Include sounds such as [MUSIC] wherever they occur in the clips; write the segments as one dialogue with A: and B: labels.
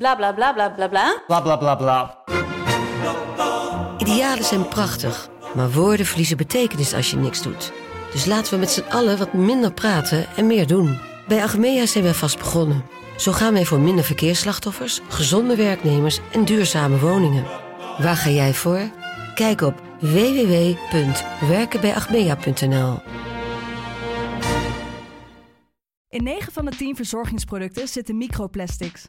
A: Bla bla bla bla bla bla.
B: Bla bla bla bla.
C: Idealen zijn prachtig, maar woorden verliezen betekenis als je niks doet. Dus laten we met z'n allen wat minder praten en meer doen. Bij Agmea zijn wij vast begonnen. Zo gaan wij voor minder verkeersslachtoffers, gezonde werknemers en duurzame woningen. Waar ga jij voor? Kijk op www.werkenbijagmea.nl.
D: In 9 van de 10 verzorgingsproducten zitten microplastics.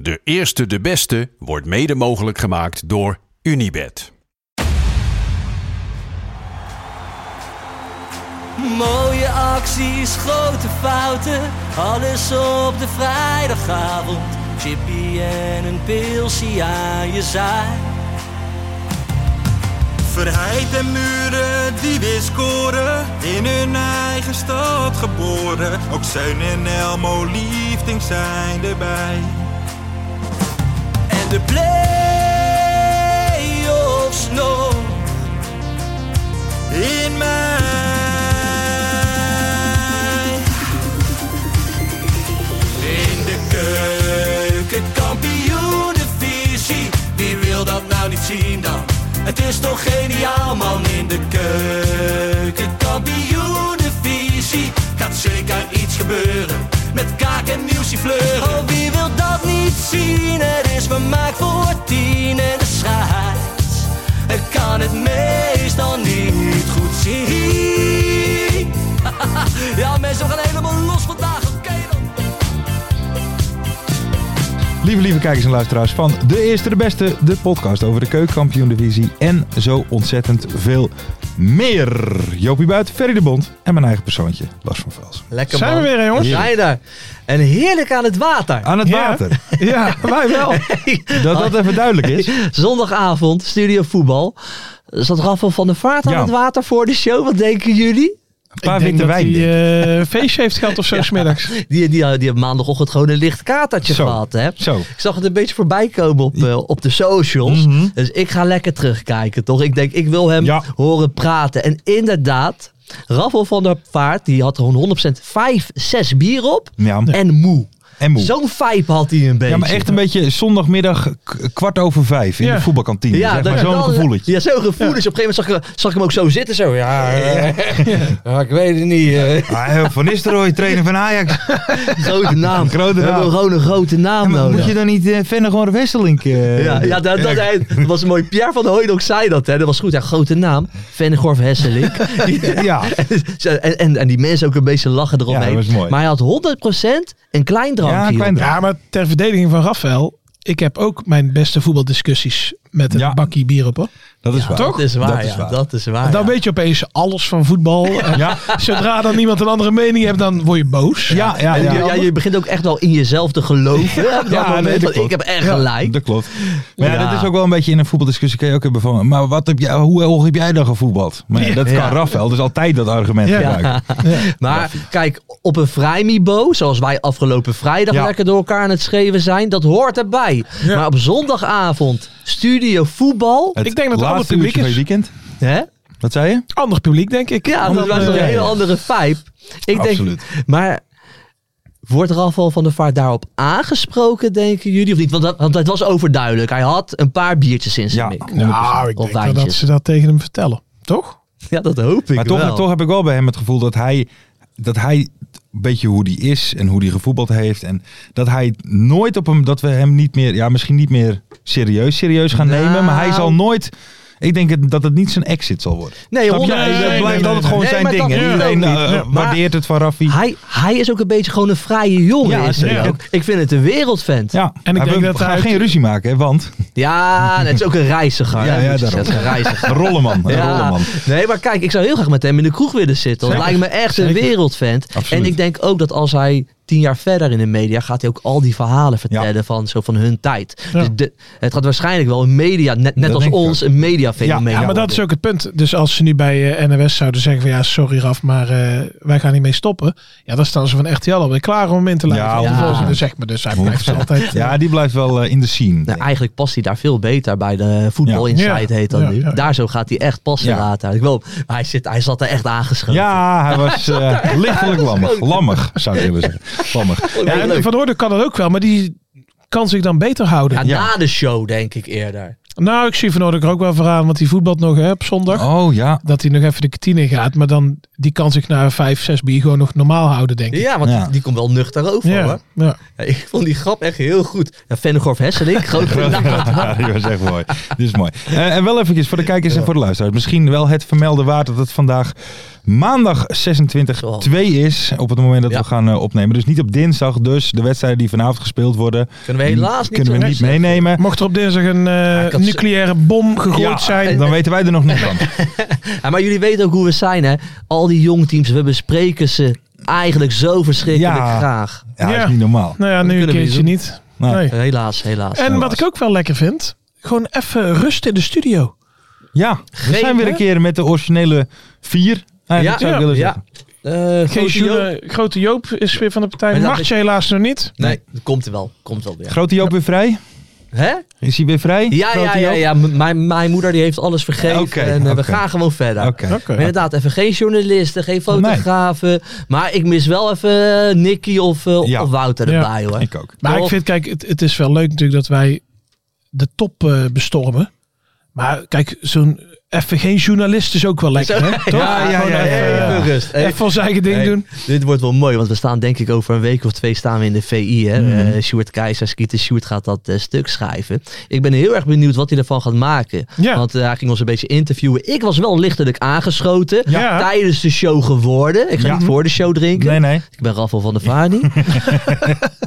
E: De eerste de beste wordt mede mogelijk gemaakt door Unibed.
F: Mooie acties, grote fouten, alles op de vrijdagavond. Chippy en een pilsie aan je zaai.
G: Verheid en muren die weer scoren, in hun eigen stad geboren. Ook Zijn en Elmo liefding zijn erbij.
F: En de play-offs nog
G: In mij.
F: in de keuken, kampioenenvisie. Wie wil dat nou niet zien dan? Het is toch geniaal man in de keuken, kampioenenvisie. Gaat zeker iets gebeuren met kaak en nieuwsje fleuren. Oh, wie wil dat niet zien? Het is vermaakt voor tien en de scheids. Ik kan het meestal niet goed zien. [LAUGHS] Ja, mensen, we gaan helemaal los vandaag. Oké dan.
H: Lieve, lieve kijkers en luisteraars van De Eerste de Beste, de podcast over de keukenkampioen-divisie en zo ontzettend veel meer. Jopie Buit, Ferry de Bond en mijn eigen persoontje, Lars van Vels.
I: Lekker
J: Zijn
I: man.
J: we weer, hè, jongens?
I: Zijn we er. En heerlijk aan het water.
H: Aan het
J: Ja.
H: water. [LAUGHS] Ja, wij
J: [LAUGHS]
H: wel. Dat dat even duidelijk is.
I: Zondagavond, studio voetbal. Zat Raffel van der Vaart aan
H: Ja.
I: het water voor de show? Wat denken jullie?
H: Een paar
J: ik denk
H: witte
J: dat
H: wijn.
J: hij
H: dit.
J: eh, een feestje heeft gehad of
H: [LAUGHS]
J: zo, smiddags.
I: Die, die, die hebben maandagochtend gewoon een licht katertje
H: Zo.
I: gehad. Hè?
H: Zo.
I: Ik zag het een beetje voorbij komen op, eh, op de socials. Dus ik ga lekker terugkijken, toch? Ik denk, ik wil hem
H: Mhm. Ja.
I: horen praten. En inderdaad, Raffel van der Vaart, die had gewoon 100% 5, 6 bier op.
H: Ja,
I: En moe.
H: en moe.
I: Zo'n vibe had hij een beetje.
H: Ja, maar echt een beetje zondagmiddag k- kwart over vijf in
J: Ja.
H: de voetbalkantine. Ja, zeg maar
I: dat-
H: zo'n
I: dat-
H: gevoeletje.
I: Ja, zo'n gevoeletje. Op een gegeven moment zag ik, zag ik hem ook zo zitten. Zo, ja, eh, ja, ik weet het niet. eh.
H: Ah, van Nistelrooy, trainer van Ajax.
I: [LAUGHS] Grote naam.
H: Grote
I: We
H: naam.
I: hebben gewoon een grote naam
H: Maar
I: nodig.
H: Moet je dan niet eh, verder gewoon Wesselink... eh,
I: nou ja, ja, dat, dat, hij- dat was mooi. Pierre van Hooydonk zei dat. Hè. Dat was goed. Ja, grote naam. Vennegorf Hesselink.
H: [LAUGHS]
I: [LAUGHS]
H: [LAUGHS] Ja.
I: en, en, en die mensen ook een beetje lachen eromheen.
H: Ja, dat was mooi.
I: Maar hij had 100% een klein drankje.
H: Ja, een klein
I: joh.
H: drankje.
J: Ja, maar ter verdediging van Rafael. Ik heb ook mijn beste voetbaldiscussies met een
H: Ja.
J: bakkie bier op. Hoor.
H: Dat is waar.
J: toch?
I: Dat is waar.
H: Dat
I: ja,
H: is waar.
I: Dat is waar
J: dan
I: Ah, ja.
J: weet je opeens alles van voetbal. En
H: Ja,
J: Zodra dan iemand een andere mening heeft, dan word je boos.
H: ja, ja.
I: En
H: ja,
I: je- ja, je begint ook echt al in jezelf te geloven. Ja,
H: Ja, nee, dat
I: ik
H: klopt.
I: heb echt
H: Ja,
I: gelijk.
H: dat klopt. Maar ja,
I: Ja.
H: dat is ook wel een beetje in een voetbaldiscussie. Kun je ook hebben van, maar wat heb jij, hoe hoog heb jij dan gevoetbald? Maar ja, dat kan
I: Ja.
H: Rafael, dus altijd dat argument
J: Ja.
H: gebruiken.
I: Maar kijk, op een vrijmibo, zoals wij afgelopen vrijdag
H: Ja.
I: lekker door elkaar aan het schreven zijn, dat hoort erbij. Maar op zondagavond, studio voetbal,
H: Het
J: Ik denk dat het
H: laatste
J: allemaal publiek
H: uurtje van je
J: is.
H: weekend.
I: hè?
H: Wat zei je?
J: Ander publiek, denk ik. eh,
I: Ja, dat
J: Ander-
I: was een
H: ja,
I: hele
H: ja.
I: andere vibe. Ik
H: Absoluut.
I: Denk, maar wordt Rafal van der Vaart daarop aangesproken, denken jullie, of niet? Want dat, want dat was overduidelijk. Hij had een paar biertjes in zijn
H: Ja.
I: mik.
J: Nou, ik
I: Of
J: denk wel dat
I: wijntjes.
J: ze dat tegen hem vertellen. Toch?
I: Ja, dat hoop ik
H: Maar toch,
I: wel.
H: toch heb ik wel bij hem het gevoel dat hij, dat hij een beetje hoe die is en hoe die gevoetbald heeft. En dat hij nooit op hem, dat we hem niet meer, ja, misschien niet meer serieus, serieus gaan
I: Nou.
H: nemen. Maar hij zal nooit, ik denk het- dat het niet zijn exit zal worden.
I: nee,
H: Snap je?
I: honderd-
H: Hij
J: nee,
H: blijft
J: nee,
H: altijd
J: nee.
H: gewoon
I: Nee,
H: zijn
I: maar dat
H: ding. En
I: hoeft ook
H: iedereen
I: niet.
H: eh,
I: Ja, maar-
H: waardeert het van Raffi.
I: Hij, hij is ook een beetje gewoon een vrije jongen.
H: Ja,
I: is hij
H: zeker.
I: ook. Ik vind het een wereldvent.
H: Ja,
J: En ik
H: Hij
J: denk
H: wil-
J: dat
H: ga
J: hij-
H: geen ruzie maken, hè,
I: [LAUGHS]
H: want
I: Ja, het is ook een reiziger.
H: Ja,
I: hè,
H: ja,
I: moet je
H: daarom.
I: zeggen. een
H: [LAUGHS]
I: reiziger.
H: een rollenman. Een rollenman.
I: Nee, maar kijk, ik zou heel graag met hem in de kroeg willen zitten. Dat
J: Zeker.
I: lijkt me echt een
J: Zeker.
I: wereldvent.
H: Absoluut.
I: En ik denk ook dat als hij tien jaar verder in de media gaat hij ook al die verhalen vertellen van, zo van hun tijd.
B: Ja.
I: Dus de- het gaat waarschijnlijk wel een media, net, net
H: Dat
I: als
H: denk ik
I: ons, een mediafenomeen.
B: Ja, maar dat is
I: worden.
B: ook het punt. Dus als ze nu bij eh, NOS zouden zeggen van ja, sorry Raf, maar eh, wij gaan niet mee stoppen. Ja, dan staan ze van RTL alweer klaar om in te
H: Ja,
B: lijven.
I: honderd
B: Ja,
I: procent.
B: zeg maar dus. Hij blijft altijd...
H: Ja, die blijft wel eh, in de scene.
I: Nou, eigenlijk past hij daar veel beter bij de Voetbal Insight
B: Ja.
I: heet dat
B: Ja,
I: nu.
B: ja, ja.
I: Daar zo gaat hij echt passen
H: Ja.
I: later. Ik wil, hij, zit, hij zat er echt aangeschoten.
H: Ja, hij
I: [LAUGHS]
H: was eh, lichtelijk lammig. Lammig, zou ik willen zeggen. Lammig.
B: Ja, en Van Hoorde kan dat ook wel, maar die kan zich dan beter houden.
I: Ja, na de show denk ik eerder.
B: Nou, ik zie Van Hoorde er ook wel voor aan, want die voetbalt nog hè, op zondag.
H: Oh ja.
B: Dat hij nog even de kantine gaat, maar dan die kan zich na vijf, zes bier gewoon nog normaal houden, denk ik.
I: Ja, want
H: Ja.
I: Die, die komt wel nuchter over hoor.
B: ja. ja.
I: Ja, ik vond die grap echt heel goed. Ja, Vennegorf
H: [LAUGHS]
I: Hesselink, groot ja.
H: Ja, die was echt mooi. Dit is mooi. Eh, en wel eventjes voor de kijkers en voor de luisteraars. Misschien wel het vermelden waard dat het vandaag maandag 26-2 is. Op het moment dat
I: Ja.
H: we gaan eh, opnemen. Dus niet op dinsdag. Dus de wedstrijden die vanavond gespeeld worden.
I: Kunnen we helaas niet,
H: Kunnen we niet
I: terugzetten.
H: meenemen.
B: Mocht er op dinsdag een eh,
I: ik had ze-
B: nucleaire bom gegooid
H: Ja,
B: zijn,
H: Dan weten wij er nog niet van.
I: Ja, maar jullie weten ook hoe we zijn hè. Al die jongteams, we bespreken ze eigenlijk zo verschrikkelijk
H: Ja.
I: graag.
H: Ja, dat
B: Ja.
H: is niet normaal.
B: Nou ja,
I: Dat
B: nu een
I: kunnen we
B: keertje
I: niet Nou, eh,
B: niet.
H: Nee.
B: Nee.
I: Helaas, helaas.
B: En wat ik ook wel lekker vind, gewoon even rust in de studio.
H: Ja, we zijn weer een keer met de originele vier. Eigenlijk zou ik willen zeggen.
I: Eh,
B: Geen
I: Grote Joop.
B: Joep, grote Joop is weer van de partij.
I: Maar dat
B: Martje
I: is-
B: helaas nog niet.
I: Nee, dat komt er wel. Komt wel weer.
H: Grote Joop weer vrij?
I: Hè?
H: Is hij weer vrij?
I: Ja, ja,
H: Grote
I: ja,
H: Joop?
I: ja. M- Mijn, mijn moeder die heeft alles vergeven.
H: Oké,
I: en eh,
H: oké.
I: we gaan gewoon verder.
H: Oké.
B: Oké.
I: Maar inderdaad, even geen journalisten, geen fotografen. Maar ik mis wel even eh, Nicky of, eh,
H: Ja.
I: of Wouter
B: Ja.
I: erbij hoor.
H: Ik ook.
B: Maar ik
I: Toch?
B: vind, kijk, het, het is wel leuk natuurlijk dat wij de top eh, bestormen. Maar kijk, zo'n even geen journalist is ook wel lekker, hè?
I: [LAUGHS]
B: Toch?
I: Ja, ja,
B: Gewoon
I: ja, ja,
B: even,
I: ja.
B: eh,
I: Even rust. Hey.
B: Even ons eigen ding
I: Hey,
B: doen.
I: Dit wordt wel mooi, want we staan denk ik over een week of twee staan we in de VI. Hè?
B: Mm.
I: Eh, Sjoerd Keizer, Skeeter Sjoerd gaat dat eh, stuk schrijven. Ik ben heel erg benieuwd wat hij ervan gaat maken.
B: Ja.
I: Want eh, hij ging ons een beetje interviewen. Ik was wel lichtelijk aangeschoten
B: Ja.
I: tijdens de show geworden. Ik ga
H: Ja.
I: niet voor de show drinken.
H: Nee,
I: [LAUGHS]
H: nee.
I: Ik ben Raffel van der Vaarnie.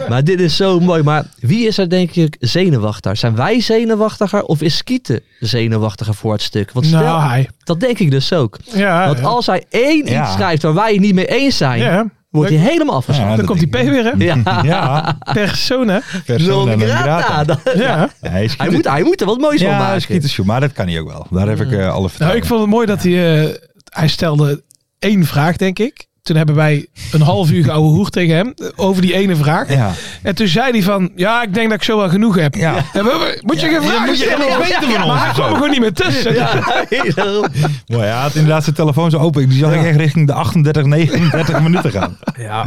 I: maar dit is zo mooi. Maar wie is er denk ik zenuwachtiger? Zijn wij zenuwachtiger of is Skieten zenuwachtiger voor het stuk? Want stel,
B: Nou, hij.
I: dat denk ik dus ook.
B: Ja,
I: Want
B: ja.
I: als hij één
H: Ja.
I: iets schrijft waar wij het niet mee eens zijn,
B: ja.
I: wordt hij
B: Leuk.
I: helemaal afgesloten.
H: Ja,
B: Dan
H: dat
B: komt die P
H: denk ik.
B: weer, hè?
I: Ja. [LAUGHS]
H: Ja,
B: Persona.
H: persona
I: Non
H: non
I: grata.
H: grata.
I: Dat- [LAUGHS]
B: Ja.
H: Ja, hij is
I: Hij, moet, hij moet er wat moois van
H: ja, hij
I: maken.
H: is Skeeter Sjoe, maar dat kan hij ook wel. Daar heb ik eh, alle
B: Nou,
H: vertrouwen
B: ik vond het mooi dat hij, eh, hij stelde één vraag, denk ik. Toen hebben wij een half uur geouwe hoer tegen hem eh, over die ene vraag.
H: in. Ja.
B: En toen zei hij van, ja, ik denk dat ik zo wel genoeg heb.
H: Ja.
B: En we- we- moet je geen vragen
H: moet je
B: stellen?
H: echt weten van
B: Maar
H: ons
B: hij
H: of
B: kwam
H: zo.
B: er gewoon niet meer
I: [LAUGHS]
B: tussen.
I: Ja.
H: Maar Nou ja, hij had inderdaad zijn telefoon zo open. Die zag ik echt richting de 38, 39 minuten gaan.
I: ja,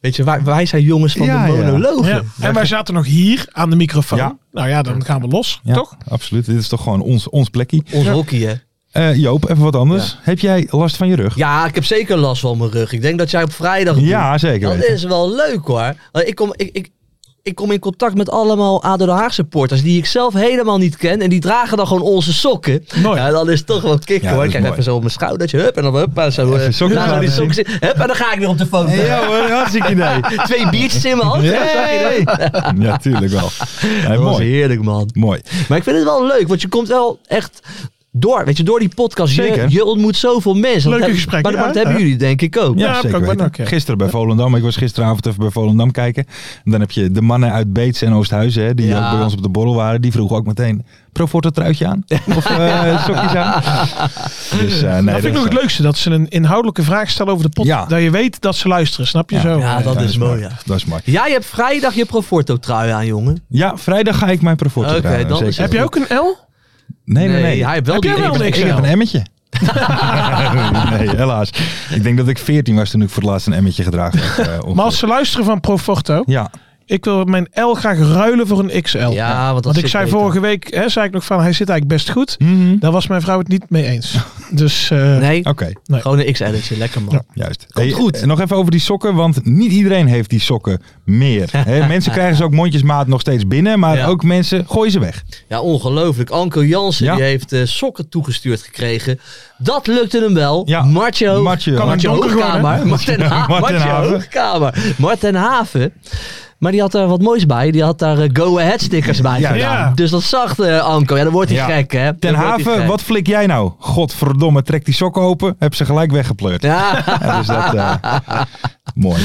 I: weet je, wij, wij zijn jongens van
H: Ja,
I: de
H: ja.
I: monologen.
B: Ja. En wij zaten nog hier aan de microfoon.
H: Ja.
B: Nou ja, dan gaan we los,
H: Ja,
B: toch?
H: absoluut. Dit is toch gewoon ons, ons plekje.
I: Ons hockey, hè?
H: Eh, Joop, even wat anders. Heb jij last van je rug?
I: Ja, ik heb zeker last van mijn rug. Ik denk dat jij op vrijdag. doet.
H: Ja, zeker
I: Dat
H: weten.
I: is wel leuk hoor. Want Ik kom, ik, ik, ik kom in contact met allemaal ADO Den Haag supporters die ik zelf helemaal niet ken. En die dragen dan gewoon onze sokken.
B: Mooi.
I: Ja, dat is toch wel kick hoor.
H: Ja, dat
I: Ik
H: is
I: krijg
H: mooi.
I: even zo op mijn schoudertje. Hup, en dan hup. En zo,
H: Even
I: eh,
H: sokken
I: laat zo die
H: laten
I: sokken zien. Hup, en dan ga ik weer op de foto.
H: Ja hoor, hartstikke idee.
I: [LAUGHS] Twee biertjes in mijn hand.
H: Hey. Ja, tuurlijk wel. Ja,
I: Dat was
H: mooi.
I: heerlijk man.
H: Mooi.
I: Maar ik vind het wel leuk, want je komt wel echt door. Weet je, door die podcast.
H: Zeker.
I: Je, je ontmoet zoveel mensen.
B: Leuke
I: heb-
B: gesprekken,
I: Maar, maar dat
B: ja.
I: hebben jullie denk ik ook.
H: Ja,
B: Ja,
H: zeker
B: kan ik me
H: weten.
B: ook, ja.
H: Gisteren bij Volendam. Ik was gisteravond even bij Volendam kijken. En dan heb je de mannen uit Beets en Oosthuizen, hè, die
I: Ja.
H: ook bij ons op de borrel waren. Die vroegen ook meteen, Proforte truitje aan? Of
B: [LAUGHS]
H: eh, sokjes aan? Dus, eh, nee,
B: dat vind ik nog het leukste, dat ze een inhoudelijke vraag stellen over de pot.
H: Ja.
B: Dat je weet dat ze luisteren, snap je zo?
I: Ja, dat is mooi, ja.
H: Dat is mooi.
I: Jij hebt vrijdag je Proforto trui aan, jongen.
H: Ja, vrijdag ga ik mijn Proforte
I: Oké,
H: trui aan,
I: dan
H: zeker.
I: is het
B: Heb je ook een L?
H: Nee, nee, nee.
I: Hij heeft wel
B: Heb
I: die
B: jij wel
I: ene-
B: een
H: ik
B: XL?
H: heb een
B: [LAUGHS]
H: emmetje. nee, helaas. Ik denk dat ik 14 was toen ik voor het laatst een emmetje gedragen heb. eh, ongeveer.
B: Maar als ze luisteren van Proforto,
H: Ja,
B: ik wil mijn L graag ruilen voor een XL.
I: Ja, want, dat
B: Want ik
I: zit
B: zei
I: beter.
B: vorige week, hè, zei ik nog van, hij zit eigenlijk best goed.
H: Mhm.
B: Daar was mijn vrouw het niet mee
H: [LAUGHS]
B: eens. Dus eh,
I: Nee,
H: oké.
B: nee.
I: gewoon een XL'tje. Lekker man.
H: Juist.
I: Komt
H: Hey,
I: goed.
H: eh, Nog even over die sokken, want niet iedereen heeft die sokken
I: [LAUGHS]
H: meer. Hè, mensen krijgen ze ook mondjesmaat nog steeds binnen, maar
I: Ja.
H: ook mensen gooien ze weg.
I: Ja, ongelooflijk. Anko Jansen
H: Ja.
I: die heeft eh, sokken toegestuurd gekregen. Dat lukte hem wel.
H: Ja.
I: Martje Hoog.
H: Martje Hoog.
I: Martje
B: Kan het donker
I: Hoogkamer. Marten, Ha-
H: Marten
I: Martje
H: Haven.
I: Hoogkamer. Marten Haven. Maar die had daar wat moois bij. Die had daar eh, Go Ahead stickers bij
H: Ja.
I: gedaan.
B: Ja.
I: Dus dat zag eh, Anko. Ja, dan wordt hij
H: Ja.
I: gek hè. Dan
H: Ten
I: wordt hij
H: haven,
I: gek.
H: wat flik jij nou? Godverdomme, trek die sokken open, heb ze gelijk weggepleurd.
I: Ja. [LAUGHS]
H: Ja, dus dat, eh, Mooi.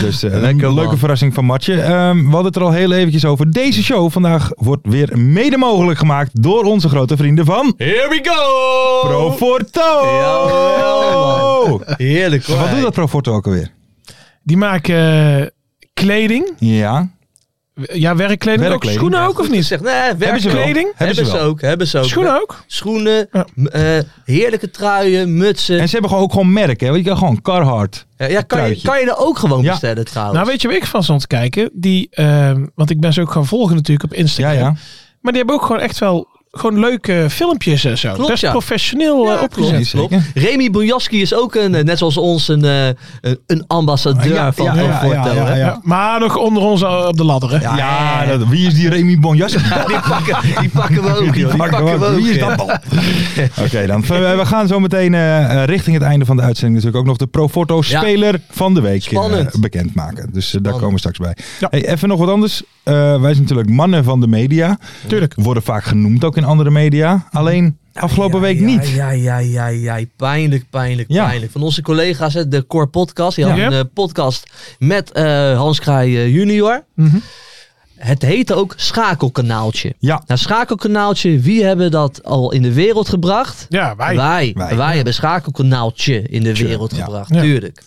H: Dus eh, een
I: Man.
H: leuke verrassing van Matje. Ehm, we hadden het er al heel eventjes over. Deze show vandaag wordt weer mede mogelijk gemaakt door onze grote vrienden van
I: Here we go!
H: Proforto.
I: Jawel, Heerlijk hoor.
H: Wat doet dat Proforto ook alweer?
B: Die maken eh, kleding.
H: Ja.
B: Ja, werkkleding. ook.
H: Werkkleding,
B: schoenen
I: Ja,
B: ook of
I: goed
B: niet?
I: gezegd. Nee,
H: Hebben ze wel.
B: Kleding?
H: Hebben ze wel.
I: ook. Hebben ze ook.
B: Schoenen ook?
I: Schoenen,
B: Ja.
I: m- eh, heerlijke truien, mutsen. Eh,
H: En ze hebben gewoon ook gewoon merk, hè? Want je kan gewoon Carhartt.
I: ja, ja, kan, je,
H: truitje.
I: kan je er ook gewoon
H: Ja.
I: bestellen trouwens.
B: Nou, weet je waar ik van stond te kijken? Die, ehm, want ik ben ze ook gaan volgen natuurlijk op
H: Ja,
B: Instagram.
H: ja.
B: Maar die hebben ook gewoon echt wel gewoon leuke filmpjes en zo.
I: Klopt,
B: Best
I: ja.
B: professioneel eh,
I: Ja,
B: opgezet.
H: klopt. Zeker.
I: Remy Bojaski is ook, een, eh, net zoals ons, een, eh, een, een ambassadeur
H: Ja,
I: van
H: ja,
I: Pro
H: ja,
I: Forto,
H: ja, ja,
I: hè?
H: ja.
B: Ja, Maar nog onder ons al op de ladder, hè?
I: Ja,
H: Ja,
I: eh,
H: dat- wie is die Remy
I: [LAUGHS]
H: Bonjas?
I: die, pakken, die pakken we ook, joh. Die pakken we ook.
H: Wie is
I: joh.
H: dat
I: [LAUGHS]
H: dan? Oké dan. We we gaan zo meteen eh, eh, richting het einde van de uitzending natuurlijk ook nog de Proforto
I: Ja.
H: Speler van de Week eh,
I: Spannend.
H: bekendmaken. Dus eh, daar komen we straks bij.
B: Ja.
H: Hey, even nog wat anders. Eh, wij zijn natuurlijk mannen van de media.
B: Tuurlijk.
H: Worden vaak genoemd ook in andere media. Alleen afgelopen
I: Ja,
H: week
I: ja,
H: niet.
I: Ja, ja, ja, ja. Pijnlijk, pijnlijk,
H: Ja.
I: pijnlijk. Van onze collega's, hè, de Core Podcast. Die had
B: Ja.
I: een eh, podcast met eh, Hans Kraai eh, junior.
B: Mhm.
I: Het heette ook Schakelkanaaltje.
H: Ja.
I: Nou, Schakelkanaaltje, wie hebben dat al in de wereld gebracht?
B: Ja, wij.
I: Wij.
H: Wij.
I: Wij, hebben Schakelkanaaltje in de wereld
H: ja.
I: gebracht,
B: Ja.
I: tuurlijk.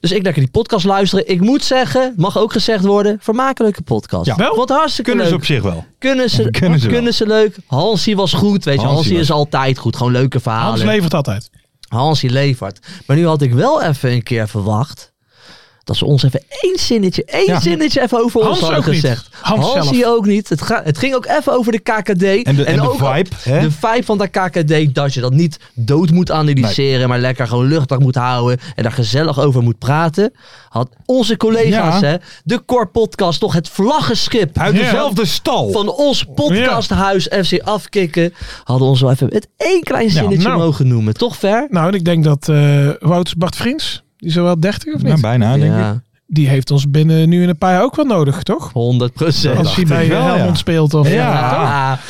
I: Dus ik lekker die podcast luisteren. Ik moet zeggen, mag ook gezegd worden, vermakelijke podcast.
H: Ja.
B: Wel?
I: Wat hartstikke
H: Kunnen ze
I: leuk.
H: op zich wel.
I: Kunnen ze,
H: [LAUGHS] Kunnen
I: kunnen
H: ze
I: ze,
H: wel.
I: leuk. Hansie was goed, weet je.
H: Hansie
I: Hansie,
H: was-
I: is altijd goed. Gewoon leuke verhalen.
B: Hans levert altijd.
I: Hansie Levert. Maar nu had ik wel even een keer verwacht dat ze ons even één zinnetje, één
H: Ja.
I: zinnetje even over
B: Hans
I: ons hadden
B: ook niet.
I: gezegd.
B: Hans
I: Hansie ook niet. Het, ga- het ging ook even over de KKD.
H: En de, en de
I: ook
H: vibe. Hè?
I: De vibe van de KKD, dat je dat niet dood moet analyseren, maar lekker gewoon luchtig moet houden en daar gezellig over moet praten. Had onze collega's,
H: Ja.
I: hè, de Core Podcast, toch het vlaggenschip
H: Uit
B: Ja.
H: dezelfde stal.
I: van ons podcasthuis FC Afkikken, hadden ons wel even het één klein zinnetje
B: nou.
I: mogen noemen. Toch ver?
B: Nou, en ik denk dat eh Wout Bart Vriends, die is al wel 30 of niet?
H: Nou, bijna, denk ik.
B: Die heeft ons binnen nu in een paar jaar ook wel nodig, toch?
I: 100
B: Als
I: procent.
B: hij
H: dacht
B: bij
H: ik wel,
B: Helmond
H: ja.
B: speelt of...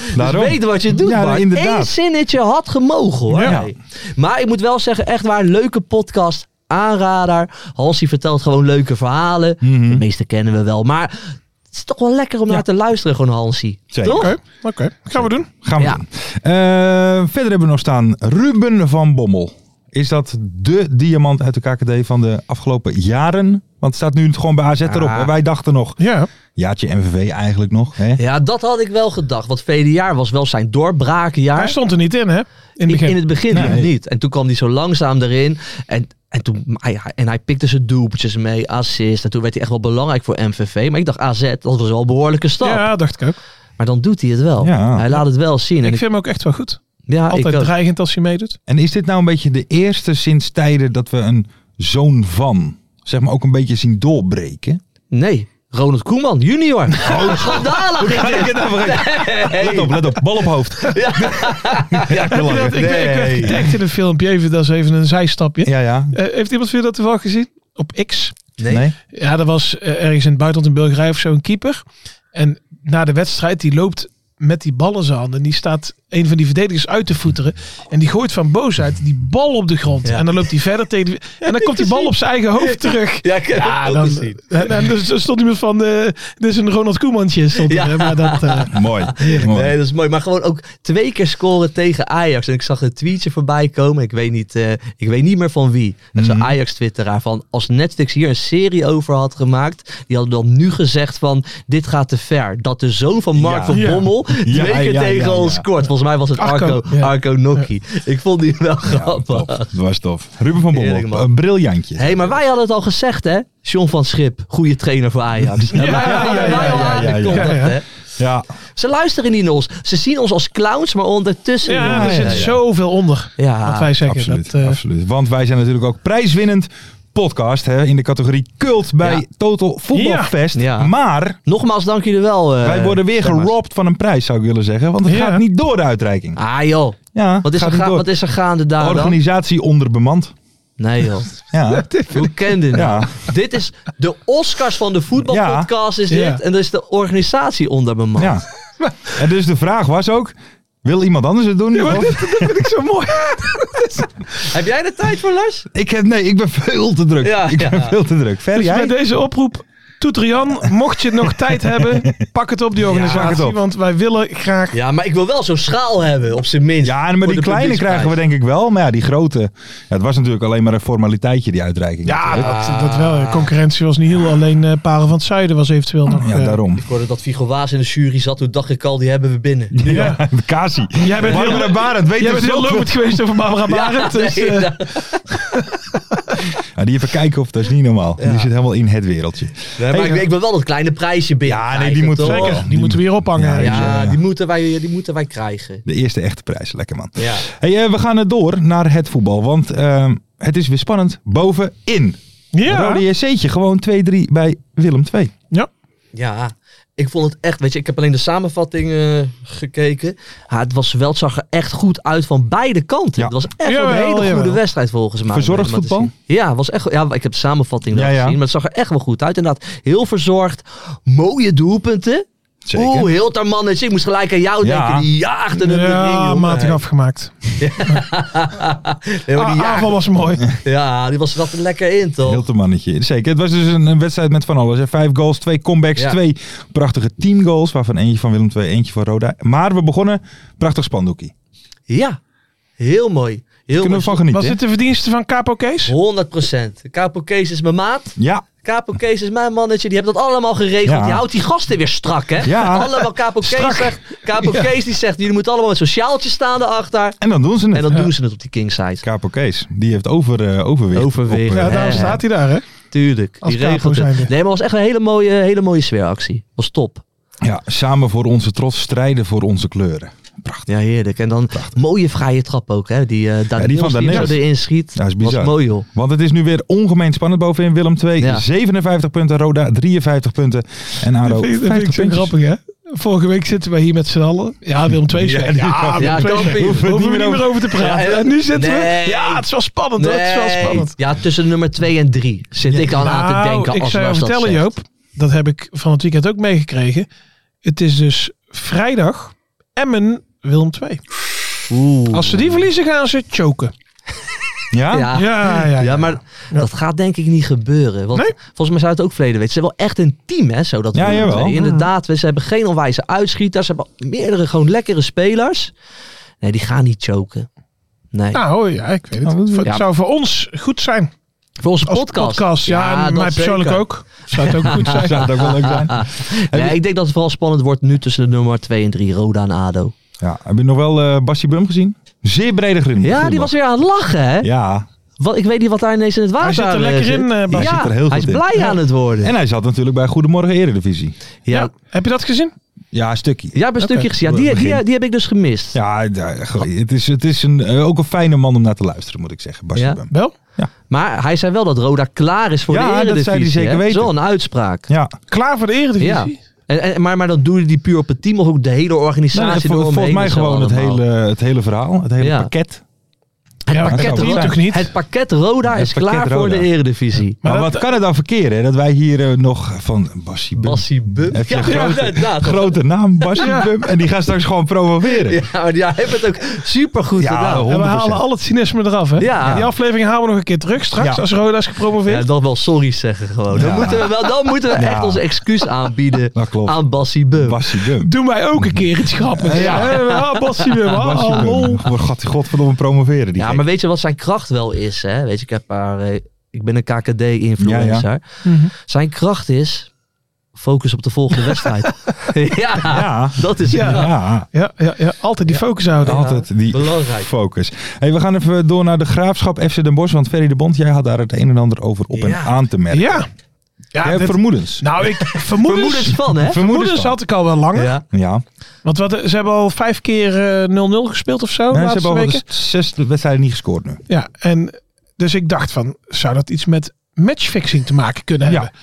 I: dus
H: Daarom.
I: weet wat je doet,
H: Ja,
I: Bart.
H: inderdaad.
I: Eén zinnetje had gemogen, hoor.
H: Ja.
I: Hey. Maar ik moet wel zeggen, echt waar, leuke podcast, aanrader. Hansie vertelt gewoon leuke verhalen.
H: Mhm.
I: De meeste kennen we wel, maar het is toch wel lekker om naar te luisteren, gewoon Hansie.
H: Zeker.
I: Toch?
B: Oké, oké. Gaan we doen.
H: Gaan we
I: Ja.
H: doen. Eh, verder hebben we nog staan Ruben van Bommel. Is dat de diamant uit de KKD van de afgelopen jaren? Want het staat nu gewoon bij AZ erop.
I: Ja.
H: En wij dachten nog,
B: Ja.
H: jaartje MVV eigenlijk nog. Hè?
I: Ja, dat had ik wel gedacht. Want verleden jaar was wel zijn
B: Hij
I: doorbraakjaar.
B: stond er niet in, hè? In het
I: In,
B: begin.
I: in het begin
H: Nee.
I: nog niet. En toen kwam hij zo langzaam erin. En, en, toen, hij, hij- en hij pikte zijn doelpjes mee, assist. En toen werd hij echt wel belangrijk voor MVV. Maar ik dacht, AZ, dat was wel een behoorlijke stap.
B: ja, dacht ik ook.
I: Maar dan doet hij het wel.
H: Ja.
I: Hij laat het wel zien. En
B: Ik
I: ik,
B: vind hem ook echt wel goed.
I: ja, ik
B: Altijd
I: ook.
B: dreigend als hij meedoet.
H: En is dit nou een beetje de eerste sinds tijden dat we een zoon van, zeg maar ook een beetje zien doorbreken?
I: Nee, Ronald Koeman, junior.
B: [LAUGHS]
I: Oh, schandalig.
B: nou
H: Let op, let op. Bal op
B: [LAUGHS]
H: hoofd.
I: Ja.
H: Ja, belangrijk.
B: Ik, ik werd
H: Nee.
B: getagd in een filmpje, even, dat is even een zijstapje.
H: Ja, ja.
B: Eh, heeft iemand van dat toeval gezien? Op X.
I: Nee.
H: Nee.
B: Ja, dat was eh, ergens in het buitenland in Bulgarije of zo een keeper. En na de wedstrijd, die loopt met die bal in zijn handen. En die staat een van die verdedigers uit te voeteren. En die gooit van boosheid die bal op de grond.
I: Ja.
B: En dan loopt hij verder tegen... [LAUGHS] die- En dan komt die bal op zijn eigen hoofd terug.
I: Ja, ik heb
B: Ja,
I: het
B: dan,
I: ook gezien.
B: en, en dus er stond iemand van... eh, dit is een Ronald Koemantje stond er.
I: Ja.
B: hè, Maar dat, eh,
H: Mooi. Mooi.
I: Nee, dat is mooi. Maar gewoon ook twee keer scoren tegen Ajax. En ik zag een tweetje voorbij komen. Ik weet niet, eh, ik weet niet meer van wie. Dat
H: Mhm.
I: is een Ajax-twitteraar. Van als Netflix hier een serie over had gemaakt. Die hadden dan nu gezegd van dit gaat te ver. Dat de zoon van Mark
H: Ja.
I: van
B: Ja.
I: Bommel twee
H: Ja,
I: keer
H: ja,
I: tegen
H: ja,
I: ons
H: ja.
I: scoort. Volgens mij was het
B: Arco.
I: Arco,
B: Ja.
I: Arco Nocchi. Ik vond die wel grappig.
H: Top. Dat was tof. Ruben van
I: Heerlijk,
H: Bommel,
I: man.
H: een briljantje.
I: Hé, hey, maar wij hadden het al gezegd, hè? John van Schip, goede trainer voor
H: [LAUGHS]
I: Ajax. Ja,
H: ja, ja, ja, ja,
B: ja, ja.
H: Ja,
I: Ze luisteren niet naar ons. Ze zien ons als clowns, maar ondertussen...
B: ja,
I: jongens.
B: er zit zoveel onder.
I: Ja.
B: Wat wij zeggen.
H: absoluut,
B: dat, eh, [LAUGHS]
H: absoluut. Want wij zijn natuurlijk ook prijswinnend podcast hè, in de categorie cult bij
I: Ja.
H: Total Voetbalfest.
I: Ja. Ja.
H: Maar
I: Nogmaals, dank jullie wel. eh,
H: wij worden weer
I: stemmen.
H: gerobbed van een prijs, zou ik willen zeggen. Want het
B: Ja.
H: gaat niet door de uitreiking.
I: Ah joh,
H: Ja,
I: wat is,
H: gaat
I: er
H: niet
I: ga-
H: door.
I: wat is er gaande daar dan?
H: Organisatie onderbemand.
I: Nee joh,
H: Ja. [LAUGHS]
I: hoe kende dit?
H: Ja.
I: Dit is de Oscars van de voetbalpodcast is dit.
B: Ja.
H: [LAUGHS]
I: En dat is de organisatie onder mijn man.
H: ja. En dus de vraag was ook, Wil iemand anders het doen?
B: maar
H: Of-
B: dit, dat vind ik zo mooi.
I: Heb jij de tijd voor, Lars?
H: Ik heb, nee, ik ben veel te druk.
I: Ja,
H: ik ben
I: ja.
H: veel te druk. Ver
B: Dus
H: jij?
B: met deze oproep, doet Rian, mocht je nog tijd hebben, pak het op die organisatie.
H: pak het op.
B: Want wij willen graag...
I: Ja, maar ik wil wel zo'n schaal hebben, op zijn minst.
H: Ja,
I: voor
H: maar die
I: de
H: kleine
I: publieksprijs.
H: krijgen we denk ik wel. Maar ja, die grote. Ja, het was natuurlijk alleen maar een formaliteitje, die uitreiking.
B: Ja,
H: natuurlijk.
B: dat, dat wel. Concurrentie was niet heel. Alleen eh Paren van het Zuiden was eventueel nog...
H: ja
B: eh,
H: daarom.
I: Ik hoorde dat Viggo Waas in de jury zat. Toen dacht ik al, die hebben we binnen.
H: [LAUGHS]
B: Ja.
H: Kasi.
B: Jij bent heel,
H: Barbara Barend weet
B: jij
H: er
B: bent heel
H: veel van.
B: lopend geweest over
I: [LAUGHS]
B: Barbara Barend. dus,
I: nee,
B: eh,
I: ja.
H: Ja, die even kijken of dat is niet normaal.
I: Ja.
H: Die zit helemaal in het wereldje.
I: Nee, maar
H: Hey,
I: ik, ik wil wel dat kleine prijsje binnen.
H: Ja, nee,
I: krijgen,
H: die moet
I: toch?
H: zeker.
B: die moeten we hier ophangen.
H: Ja,
B: Ja,
I: Ja,
H: Ja.
I: die moeten wij, die moeten wij krijgen.
H: De eerste echte prijs. Lekker man.
I: Ja.
H: Hey, eh, we gaan eh, door naar het voetbal. Want ehm, het is weer spannend. Bovenin. Rode JC'tje. Gewoon 2-3 bij Willem 2.
I: Ja, ik vond het echt, weet je, ik heb alleen de samenvatting eh, gekeken. Ja, het, was wel, het zag er echt goed uit van beide kanten.
H: Ja.
I: Het was echt wel een
B: Jawel,
I: hele goede
B: jawel.
I: wedstrijd volgens mij. om
H: Verzorgd
I: helemaal te
H: voetbal?
I: zien. Ja, het was echt, ja, ik heb de samenvatting wel
H: Ja, ja.
I: gezien, maar het zag er echt wel goed uit. Inderdaad, heel verzorgd, mooie doelpunten. Oeh, heel ter mannetje. Ik moest gelijk aan jou
H: Ja.
I: denken. Die jaagde hem erin,
B: Ja,
I: jongen.
B: matig afgemaakt.
I: Nee, maar
B: Ah,
I: die
B: aanval
I: jaagde-
B: was mooi.
I: ja, die was er altijd lekker in, toch?
H: Heel te mannetje. Zeker. Het was dus een, een wedstrijd met van alles. Hè. Vijf goals, twee comebacks,
I: Ja.
H: twee prachtige teamgoals. Waarvan eentje van Willem II, eentje van Roda. Maar we begonnen prachtig spandoekie.
I: Ja, heel mooi. Heel
H: Kunnen we van
I: mooi.
H: genieten.
B: Was
H: hè?
B: dit de verdienste van Capo Kees?
I: 100 procent. Capo Kees is mijn maat.
H: Ja,
I: Capo Kees is mijn mannetje, die hebben dat allemaal geregeld.
H: Ja.
I: Die houdt die gasten weer strak, hè?
H: Ja.
I: Allemaal Capo Kees
H: Strak.
I: zegt, Capo
H: Ja.
I: Kees die zegt, jullie moeten allemaal met zo'n sjaaltje staan erachter.
H: en dan doen ze het.
I: En dan
H: Ja.
I: doen ze het op die kingside.
H: Capo Kees, die heeft over, eh, overwicht.
I: Overwicht.
H: Op, eh,
B: Ja, daarom
I: Ja.
B: staat hij daar, hè?
I: Tuurlijk,
B: Als
I: die
B: Capo
I: regelt het.
B: zijnde.
I: Nee, maar het was echt een hele mooie, hele mooie sfeeractie. Was top.
H: ja, samen voor onze trots, strijden voor onze kleuren. Prachtig.
I: Ja, heerlijk. En dan mooie vrije trap ook, hè? Die eh Daniels
H: van
I: die hem
H: Daniels.
I: zo erin schiet.
H: Dat is bizar.
I: Was mooi, joh.
H: Want het is nu weer ongemeen spannend bovenin. Willem 2,
I: Ja.
H: 57 punten. Roda, 53 punten. En Aro,
B: Dat vind, ik- dat vind
H: 50
B: ik zo
H: punten.
B: grappig, hè? Vorige week zitten wij hier met z'n allen. Ja, Willem II is
H: Ja,
B: weg. Ja,
I: Ja,
B: Willem II is [LAUGHS]
I: kampioen.
B: weg.
I: Hoeven
H: we
B: Hoeven we
H: niet
B: niet
H: meer
B: meer over te praten.
I: Ja,
B: en nu zitten
I: nee.
B: we... Ja, het is wel spannend, hoor. Het is wel
I: Nee.
B: spannend.
I: Ja, tussen nummer 2 en 3 zit ik al aan
B: Nou,
I: te denken.
B: ik
I: als
B: zou je
I: Lars dat
B: vertellen,
I: zegt.
B: Joop. Dat heb ik van het weekend ook meegekregen. Het is dus vrijdag Emmen Willem 2.
I: Oeh.
B: Als ze die verliezen, gaan ze choken.
H: Ja?
I: Ja.
B: Ja, ja,
I: Ja, maar
B: Ja.
I: dat gaat denk ik niet gebeuren. Want
B: Nee?
I: volgens mij zou het ook verleden weten. Ze hebben wel echt een team, hè? Zo dat
H: Ja,
I: Willem
H: jawel.
I: II. Inderdaad, we- ze hebben geen onwijze uitschieters. Ze hebben meerdere gewoon lekkere spelers. Nee, die gaan niet choken. Nee.
B: Nou, ja, ik weet het.
H: Nou, dat-
B: Voor-
I: ja.
B: Het zou voor ons goed zijn.
I: Voor onze
B: Als
I: podcast.
B: Ja, en
I: dat
B: mij persoonlijk
I: zeker.
B: ook. Zou het ook goed
I: [LAUGHS]
B: zijn.
H: Zou het ook wel leuk zijn.
I: Nee, ik denk dat het vooral spannend wordt nu tussen de nummer 2 en 3, Roda en Ado.
H: Ja, heb je nog wel eh Bassie Bum gezien? Zeer brede grin.
I: Ja, die was weer aan het lachen, hè?
H: Ja,
I: Wat, ik weet niet wat daar ineens in het water
B: Hij zit er
I: aan, eh,
B: lekker in, eh, Bas.
H: Hij
I: ja,
H: zit er heel
I: hij is
H: goed in.
I: blij aan het worden.
H: en hij zat natuurlijk bij Goedemorgen Eredivisie.
I: ja,
B: Ja, Heb je dat gezien?
H: Ja, een stukje.
I: jij hebt een stukje gezien. Ja, die, die, die heb ik dus gemist.
H: Ja, ja, ge- het is, het is een, eh, ook een fijne man om naar te luisteren, moet ik zeggen. Bassie
I: Ja.
H: Bum.
B: Wel?
I: Maar hij zei wel dat Roda klaar is voor
H: Ja,
I: de
H: dat zei
I: Eredivisie.
H: hij zeker
I: hè?
H: weten.
I: Dat is wel een uitspraak.
H: Ja,
B: Klaar voor de eredivisie? Nou,
I: Ja. En, en- maar, maar dan doe je die puur op het team of ook de hele
H: Nou,
I: organisatie
H: vol-
I: door
H: volgens mij gewoon het hele, het hele verhaal, het hele
I: Ja.
H: pakket.
I: Het
B: Ja, maar
I: pakket,
B: dat kan
I: Roda,
B: toch niet?
I: het pakket Roda
H: Het
I: is
H: pakket
I: klaar voor
H: Roda.
I: de Eredivisie.
H: Maar,
B: Maar
H: wat
B: dat-
H: kan het dan verkeerd, hè? Dat wij hier eh, nog van Bassie Bum,
I: Bassie Bum.
H: Heb je een grote-
I: inderdaad.
H: grote naam Bassie Bum, en die gaat straks gewoon promoveren.
I: Ja, maar ja, hij heeft het ook supergoed
H: Ja,
I: gedaan.
H: hoor.
B: En we
H: 100%.
B: halen al het cynisme eraf, hè?
I: nou, Ja.
B: Die aflevering halen we nog een keer terug straks,
H: Ja.
B: als Roda is gepromoveerd.
I: Ja, dan wel sorry zeggen gewoon. Dan
H: Ja.
I: moeten we, wel, dan moeten we
H: Ja.
I: echt ons excuus aanbieden
H: Dat klopt.
I: aan Bassie Bum.
H: Bassie Bum.
B: Doen wij ook een keer iets grappigs.
H: Ja.
B: Ja, ja. Bassie weer. ah,
H: Bassie Bum.
B: lol.
H: Voor God, godverdomme promoveren. Die
I: Ja, maar weet je wat zijn kracht wel is? Hè? Weet je, ik, heb haar, eh, ik ben een KKD-influencer.
B: Mhm.
I: Zijn kracht is focus op de
B: [LAUGHS]
I: volgende wedstrijd. ja,
H: Ja.
I: dat is
B: Ja.
H: Ja,
B: Ja, ja, ja, altijd die focus houden.
H: altijd Ah, die
I: belangrijk.
H: focus. Hey, we gaan even door naar de graafschap FC Den Bosch. Want Ferry de Bond, jij had daar het een en ander over op en
I: Ja.
H: aan te merken.
B: Ja.
H: jij
B: ja
H: hebt
B: dit-
H: vermoedens.
B: nou, ik vermoedens,
I: Vermoedens van, hè?
B: vermoedens had ik al wel langer.
I: Ja.
H: Ja,
B: Want wat, ze hebben al vijf keer eh, 0-0 gespeeld of zo.
H: Nee,
B: de
H: ze
B: laatste
H: hebben al
B: weken.
H: de zes wedstrijden niet gescoord nu.
B: Ja, en dus ik dacht van, zou dat iets met matchfixing te maken kunnen
H: Ja.
B: hebben?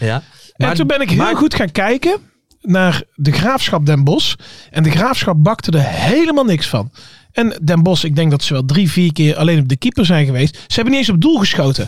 I: Ja.
B: en toen ben ik heel
I: maar-
B: goed gaan kijken naar de Graafschap Den Bosch. En de Graafschap bakte er helemaal niks van. En Den Bosch, ik denk dat ze wel drie, vier keer alleen op de keeper zijn geweest. Ze hebben niet eens op doel geschoten.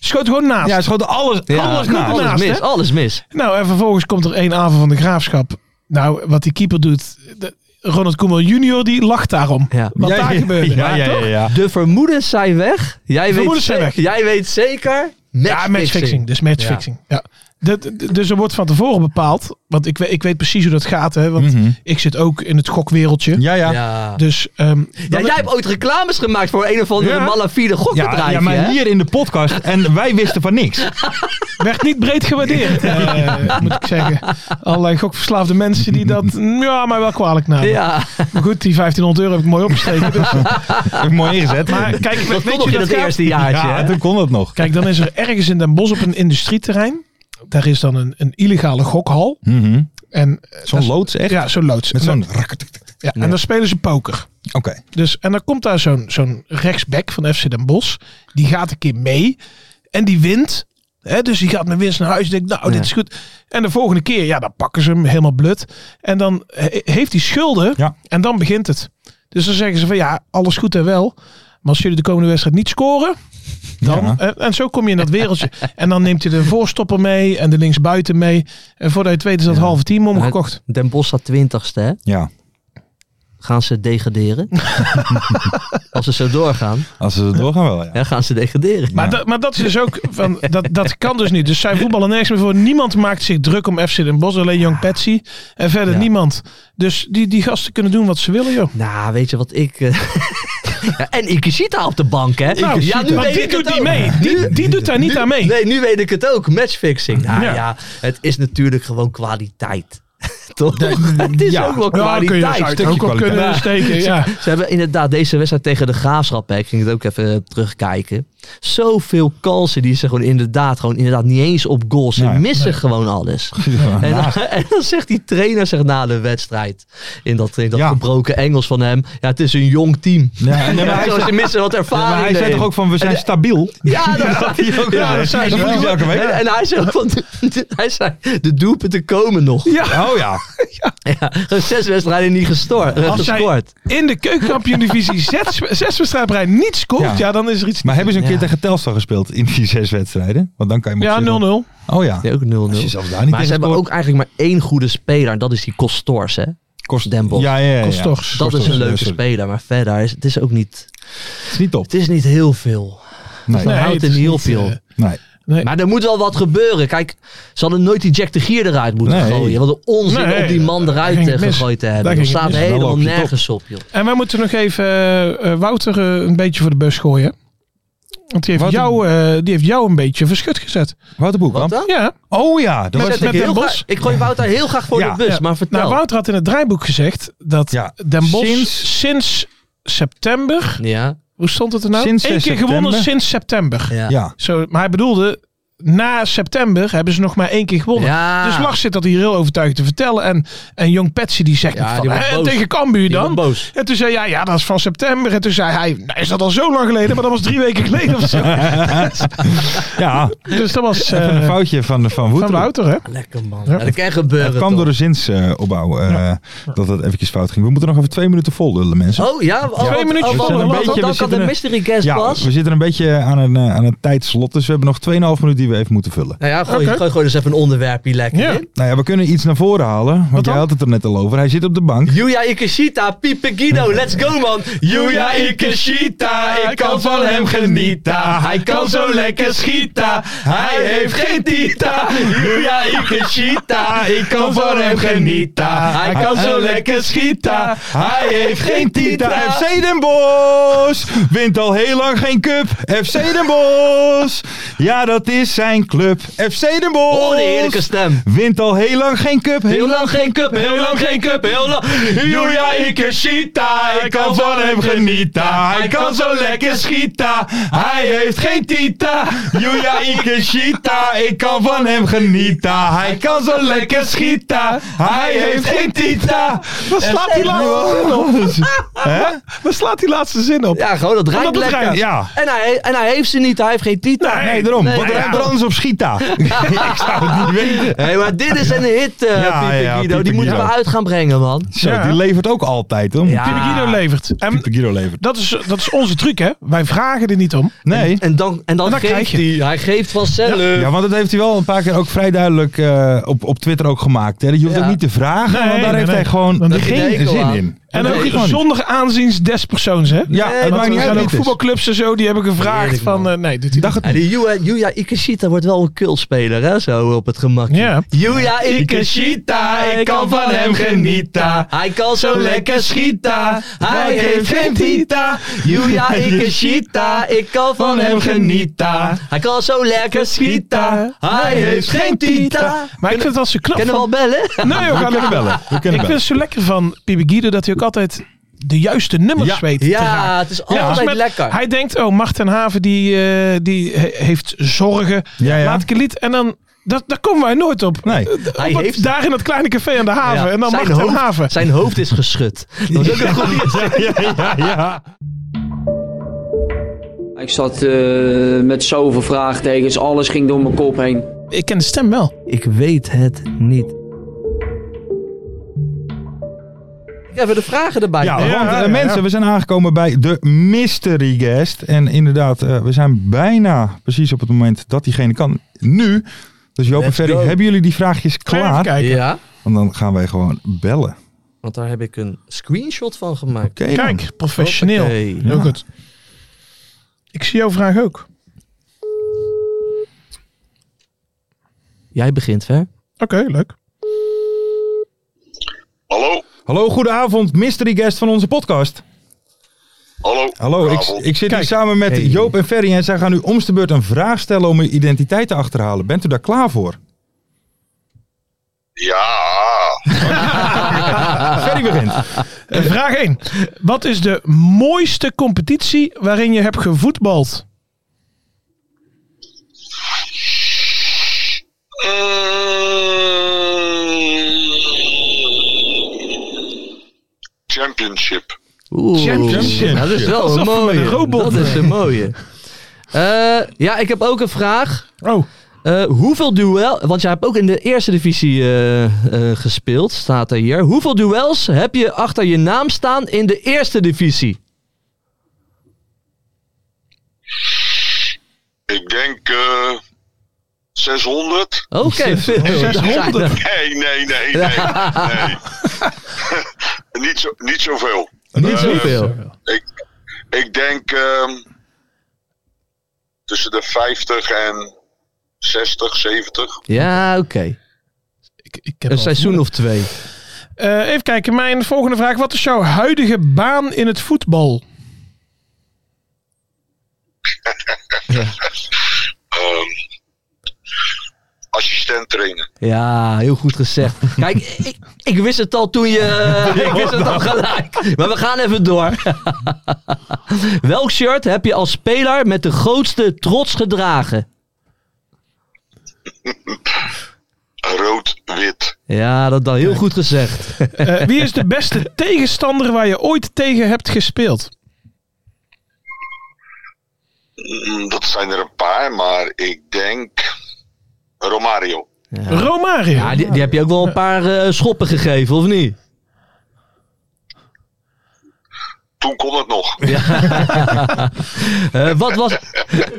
B: Ze schoten gewoon naast.
H: Ja, ze schoten alles,
I: Ja,
H: alles
I: alles,
H: na.
B: naast,
I: mis,
B: hè?
I: alles mis.
B: Nou, en vervolgens komt er één aanval van de Graafschap. Nou, wat die keeper doet, dat- Ronald Koeman junior die lacht daarom.
I: Ja.
B: Wat daar gebeurde.
H: Ja, ja, ja, ja.
I: De vermoedens zijn weg. Jij, weet,
B: Vermoedens zijn
I: ze-
B: weg.
I: jij weet zeker. Matchfixing.
B: Ja, matchfixing. Dus matchfixing. Ja. Dat- d- dus er wordt van tevoren bepaald. Want ik, we- ik weet precies hoe dat gaat. Hè, want
H: Mhm.
B: ik zit ook in het gokwereldje.
H: Ja, ja.
I: Ja.
H: ja.
I: Ja.
B: Dus ehm,
I: Ja,
B: dan-
I: jij hebt ooit reclames gemaakt voor een of andere
H: Ja.
I: malafide gokbedrijfje.
H: ja, maar
I: hè?
H: hier in de podcast. En wij wisten van [LAUGHS] niks.
B: werd niet breed gewaardeerd. eh, moet ik zeggen. Allerlei gokverslaafde mensen die dat... Ja, maar wel kwalijk namen.
I: Ja,
B: Maar goed, die 1500 euro heb ik mooi
I: [LAUGHS]
B: opgesteken. Dus,
H: Heb ik mooi ingezet.
B: maar kijk, weet
I: dat
B: je
I: kon nog in
B: dat
I: het
B: gaat?
I: eerste jaartje.
H: ja,
I: hè?
H: toen kon het nog.
B: Kijk, dan is er ergens in Den Bosch op een industrieterrein. Daar is dan een, een illegale gokhal.
H: Mhm.
B: En, eh,
H: Zo'n
B: dat is-
H: loods echt?
B: Ja, zo'n loods.
H: Met
B: En
H: zo'n...
B: dan- ja, En dan spelen ze poker.
H: Oké.
B: Dus, en dan komt daar zo'n zo'n rechtsback van FC Den Bosch. Die gaat een keer mee. En die wint. Hè, dus die gaat met winst naar huis. Denkt, nou, dit is goed. En de volgende keer, ja, dan pakken ze hem helemaal blut. En dan he- heeft hij schulden.
H: Ja.
B: En dan begint het. Dus dan zeggen ze van, ja, alles goed en wel. Maar als jullie de komende wedstrijd niet scoren... Dan,
H: Ja.
B: en, en zo kom je in dat wereldje. en dan neemt hij de voorstopper mee en de linksbuiten mee. En voordat je het weet is dat halve team omgekocht.
I: Den Bosch staat twintigste, hè?
H: Ja.
I: Gaan ze
B: [LAUGHS]
I: degraderen? Als ze zo doorgaan,
H: Als ze doorgaan wel, ja.
I: hè, gaan ze degraderen.
B: Maar, dat, maar dat is dus ook, van, dat, dat kan dus niet. Dus zij voetballen nergens meer voor. Niemand maakt zich druk om FC Den Bosch, alleen Young Patsy. En verder
I: Ja.
B: niemand. Dus die, die gasten kunnen doen wat ze willen, joh.
I: Nou, weet je wat ik... eh, [LAUGHS] ja, en Ikishita op de bank, hè?
B: Nou,
I: ja,
B: want die
I: ik het
B: doet niet
I: ook.
B: mee. Die, die doet daar niet aan mee.
I: Nee, nu weet ik het ook. Matchfixing. Nou ja,
B: Ja.
I: het is natuurlijk gewoon kwaliteit. [LAUGHS] Toch? het is
H: ja.
I: ook wel
B: Ja, kun je
I: kwaliteit.
B: uit
H: stukje
B: ook op
H: kwaliteit.
B: kunnen steken. Ja.
I: Ze hebben inderdaad deze wedstrijd tegen de Graafschap. Hè, ik ging het ook even eh, terugkijken. Zoveel kansen die ze gewoon inderdaad, gewoon inderdaad niet eens op goal. Ze
H: Nee,
I: missen gewoon alles. En dan, [LAUGHS] en dan zegt die trainer zegt na de wedstrijd, in dat, in dat
H: Ja.
I: gebroken Engels van hem, ja het is een jong team.
H: Ja, nee, maar hij
I: Ja,
H: zei-
I: ze missen wat ervaring
H: maar hij zei
I: erin.
H: toch ook van, we zijn stabiel?
I: Ja, dat
H: hij ook.
B: Ja, dat zei ze
H: Dat
B: wel.
H: doen ze elke week.
I: En, en hij zei ook van, [LAUGHS] hij zei, de doelpunten komen nog. Ja.
H: Oh ja.
I: Gewoon zes wedstrijden niet gestoord, eh,
B: Als zij-
I: gescoord.
B: In de
H: [LAUGHS]
B: keukenkampioen-divisie zes, zes wedstrijden op rij niet scoort,
H: Ja.
B: ja. dan is er iets...
H: Maar hebben ze een
I: Ja.
H: keer tegen Telstar gespeeld in die zes wedstrijden? Want dan kan je... hem
B: Ja, 0-0.
H: op zich wel- Oh ja.
I: Ja, ook 0-0.
H: Als je zelfs daar niet
I: Maar ze
H: tegen
I: hebben
H: scoort.
I: ook eigenlijk maar één goede speler. En dat is die Costors, hè.
H: Kost
I: Den Bosch.
H: Ja, ja, ja. ja.
B: Kostors.
I: Dat is
H: Costors,
I: een
H: ja,
I: leuke
H: sorry.
I: speler. Maar verder, is, het is ook niet...
H: Het is niet top.
I: Het is niet heel veel.
H: Nee.
I: Dan
B: Nee,
I: houdt
B: het
I: het
B: is
I: niet heel
B: niet,
I: veel.
B: eh,
H: Nee.
I: Maar er moet wel wat gebeuren. Kijk, ze hadden nooit die Jack de Gier eruit moeten
H: Nee.
I: gooien. Wat een onzin
B: Nee,
I: om die man
B: daar
I: eruit
B: ging
I: eh,
B: het mis.
I: gegooid te
B: Daar
I: hebben. Dat
B: ging het
I: staat
B: mis.
I: helemaal
H: Wel op je top.
I: nergens op, joh.
B: En wij moeten nog even eh, eh, Wouter eh, een beetje voor de bus gooien. Want die heeft,
H: Wouter-
B: jou, eh, die heeft jou een beetje verschut gezet.
H: Wouter
I: Wat
H: Boekamp.
I: dan?
B: Ja,
H: Oh ja. Dat
B: Met-
H: was
B: met-
I: ik,
B: Den
I: heel
B: Bosch?
I: graag- ik gooi Wouter heel graag voor
H: Ja.
I: de bus,
B: Ja.
I: maar vertel.
B: Nou, Wouter had in het draaiboek gezegd dat
H: Ja,
B: Den Bosch
H: sinds-
B: sinds, september...
I: Ja,
B: Hoe stond het er nou?
H: Sinds
B: Eén keer
H: 6 september.
B: gewonnen sinds september.
I: ja.
B: [LAUGHS]
H: Ja.
B: Zo, maar hij bedoelde, na september hebben ze nog maar één keer gewonnen.
I: Ja.
B: Dus Lars zit dat hier heel overtuigd te vertellen. En, en Jong Patsy die zegt
I: Ja,
B: nog van,
I: die wordt
B: "Hè,
I: boos.
B: tegen Cambuur
I: Die wordt
B: dan?
I: boos.
B: En toen zei hij, ja, dat is van september. En toen zei hij, nou, is dat al zo lang geleden? Maar dat was drie weken geleden
I: [LAUGHS]
B: of zo.
H: Ja.
B: Dus dat was
H: [LAUGHS]
B: eh,
H: Even een foutje van, van
B: van
H: Wouter.
B: Wouter, hè?
I: Lekker man.
B: Ja.
I: Ja, dat kan gebeuren.
H: Het kwam
I: toch?
H: door de zinsopbouw eh, dat dat eventjes fout ging. We moeten nog even twee minuten voldoen, mensen.
I: Oh ja, oh,
B: Twee
I: oh,
B: minuutjes.
I: oh, oh,
B: We zijn een
I: oh,
H: beetje-
I: dan
H: we
I: kan
H: zitten
I: de
H: in-
I: mystery guest
H: ja,
I: pas.
H: we zitten een beetje aan een, eh, aan een tijdslot, dus we hebben nog 2,5 minuten die we even moeten vullen.
I: Nou ja, gooi,
B: Oké.
I: gooi, gooi dus even een onderwerpje lekker
B: Ja.
I: in.
H: Nou ja, we kunnen iets naar voren halen, want jij
B: dan?
H: had het er net al over. Hij zit op de bank.
I: Yuya Ikeshita, Pipe Guido, let's go man. Yuya Ikeshita, ik kan van hem genieten. Hij kan zo lekker schieten, hij heeft geen tita. Yuya Ikeshita, ik kan van hem genieten. Hij kan zo lekker schieten,
H: Hij heeft geen titel.
I: tita.
H: FC Den Bosch wint al heel lang geen cup. FC Den Bosch, ja dat is zijn club. FC Den Bosch.
I: Oh, de heerlijke stem.
H: Wint al heel lang geen cup.
I: Heel lang geen cup, heel lang geen cup, heel lang. Yuya Ikeshita, ik kan van hem genieten. Hij kan zo lekker
H: schieten. Hij heeft geen tita. Yuya Ikeshita. Ik kan van hem genieten. Hij kan zo lekker schieten. Hij heeft geen tita.
B: Waar slaat die laatste zin op?
H: Hè?
B: Waar slaat die laatste zin op?
I: Ja, gewoon dat rijmt
B: Omdat het
I: lekker.
B: rijmt,
H: Ja.
I: En hij, en hij heeft ze niet, hij heeft geen titel.
H: Nee, daarom.
I: Nee,
H: Wat
I: ja,
H: ruimt er
I: dat
H: kans op [LAUGHS] Schita? ik zou het niet weten.
I: Hé, maar dit is een hit, eh
H: Ja,
I: Pieter
H: ja,
I: Guido.
H: Pieter
I: Die moeten we
H: Guido.
I: uit gaan brengen, man.
H: Zo,
J: Ja.
H: die levert ook altijd, hoor.
I: Ja.
J: Pieter Guido levert. En
H: Pieter Guido levert.
J: dat is, dat is onze truc, hè? Wij vragen er niet om.
H: Nee.
I: En dan, en dan,
J: En dan krijg
I: geeft
J: je.
I: hij. Hij geeft vanzelf.
H: Ja, want dat heeft hij wel een paar keer ook vrij duidelijk eh, op, op Twitter ook gemaakt. Hè? Je hoeft
I: Ja.
H: ook niet te vragen,
J: Nee,
H: want daar
J: nee,
H: heeft
J: nee.
H: hij gewoon
J: Dan doet
I: hij de
H: geen
I: hekel
H: zin
I: aan.
H: in.
J: En
H: Dat weet
J: ook
H: ik gewoon
J: zonder aanzien des persoons, hè?
H: niet.
I: Nee,
H: Ja, het
I: want
H: maakt
J: Want
H: niet
J: er
H: uit
J: zijn
H: wie
J: ook
H: het is.
J: voetbalclubs en zo die hebben gevraagd
I: Heerlijk,
J: van...
I: man.
J: eh, nee, doet hij
H: Dacht
J: niet.
H: het
I: Ja, die Yuya, Yuya Ikeshita wordt wel een cultspeler, hè? Zo op het gemak.
J: Ja.
I: Yuya Ikeshita, ik kan van hem genieten. Hij kan zo lekker schieten, hij heeft geen tita. [LAUGHS] Yuya Ikeshita, ik kan van hem genieten. Hij kan zo lekker schieten, hij heeft geen tita.
J: Maar ik vind het wel zo knap
I: Kunnen we
J: van-
I: al bellen?
J: Nee, we gaan
H: kunnen
J: lekker
H: bellen. We
J: Ik
H: kunnen
J: vind
H: bellen.
J: het zo lekker van Pibi Guido dat hij ook altijd de juiste nummers
H: Ja.
J: weet te raken.
I: [LAUGHS] Ja, het is
J: Ja,
I: altijd
J: dus met-
I: lekker.
J: Hij denkt, oh, Macht ten Haven die, eh, die he- heeft zorgen.
H: Ja, ja.
J: Laat ik een lied. En dan, dat, daar komen wij nooit op.
H: Nee.
J: Eh, op
I: Hij
J: het-
I: heeft-
J: Daar in dat kleine café aan de haven.
I: Ja,
J: En dan
I: zijn
J: Macht ten
I: hoofd-
J: Haven.
I: Zijn hoofd is geschud. [LAUGHS] Dat is ook een goede
H: ja, ja, ja.
A: Ik zat eh, met zoveel vraagtekens, alles ging door mijn kop heen.
J: Ik ken de stem wel.
I: Ik weet het niet. Ja, we de vragen erbij.
H: Ja, want eh,
J: ja, ja.
H: mensen, we zijn aangekomen bij de mystery guest. En inderdaad, eh, we zijn bijna precies op het moment dat diegene kan. Nu, dus Joop en
I: Let's
H: Ferry,
I: go.
H: hebben jullie die vraagjes
J: Even
H: klaar?
J: kijken.
I: ja,
H: Want dan gaan wij gewoon bellen.
I: want daar heb ik een screenshot van gemaakt.
H: Oké, dan.
J: Kijk, professioneel.
I: Hoppakee.
J: Heel goed. Ik zie jouw vraag ook.
I: Jij begint, ver.
J: Oké, leuk.
B: Hallo,
H: Hallo, goedenavond, mystery guest van onze podcast.
B: hallo.
H: Hallo, ik,
B: Goedenavond.
H: ik zit
J: Kijk.
H: hier samen met
I: Hey.
H: Joop en Ferry en zij gaan u om de beurt een vraag stellen om uw identiteit te achterhalen. Bent u daar klaar voor?
B: Ja,
H: Ferry begint.
J: Eh, vraag 1. Wat is de mooiste competitie waarin je hebt gevoetbald?
B: Eh, Mm. Championship.
I: Oeh,
H: Championship.
I: Dat is wel
J: Alsof we
I: een
J: met
I: mooie.
J: een robot
I: dat is een mooie. Eh, ja, ik heb ook een vraag.
J: Oh,
I: Eh, hoeveel duel... Want jij hebt ook in de eerste divisie eh, eh, gespeeld, staat er hier. Hoeveel duels heb je achter je naam staan in de eerste divisie?
B: Ik denk eh 600.
I: Oké,
J: [LAUGHS]
I: veel. Dat zijn er.
B: Nee, nee, nee, nee. nee. [LAUGHS] niet, zo, niet zoveel.
I: Niet zoveel.
B: Ik, ik denk ehm, tussen de 50 en 60, 70.
I: Ja, oké.
J: ik, ik heb
I: Een
J: al-
I: seizoen of twee.
J: Eh, even kijken, mijn volgende vraag. Wat is jouw huidige baan in het
B: [LAUGHS]
J: voetbal?
B: Ehm assistent trainen.
I: Ja, heel goed gezegd.
J: [LAUGHS]
I: Kijk, ik, ik wist het al toen je... [LAUGHS] Ik wist het al gelijk. Maar we gaan even door. [LAUGHS] Welk shirt heb je als speler met de grootste trots gedragen?
B: Rood-wit.
I: Ja, dat dan heel goed gezegd.
J: Eh, wie is de beste tegenstander waar je ooit tegen hebt gespeeld?
B: Mm, Dat zijn er een paar, maar ik denk Romario.
J: Romario.
I: Ja, die, die heb je ook wel een paar eh, schoppen gegeven, of niet?
B: Toen kon het nog.
I: Eh, wat, was,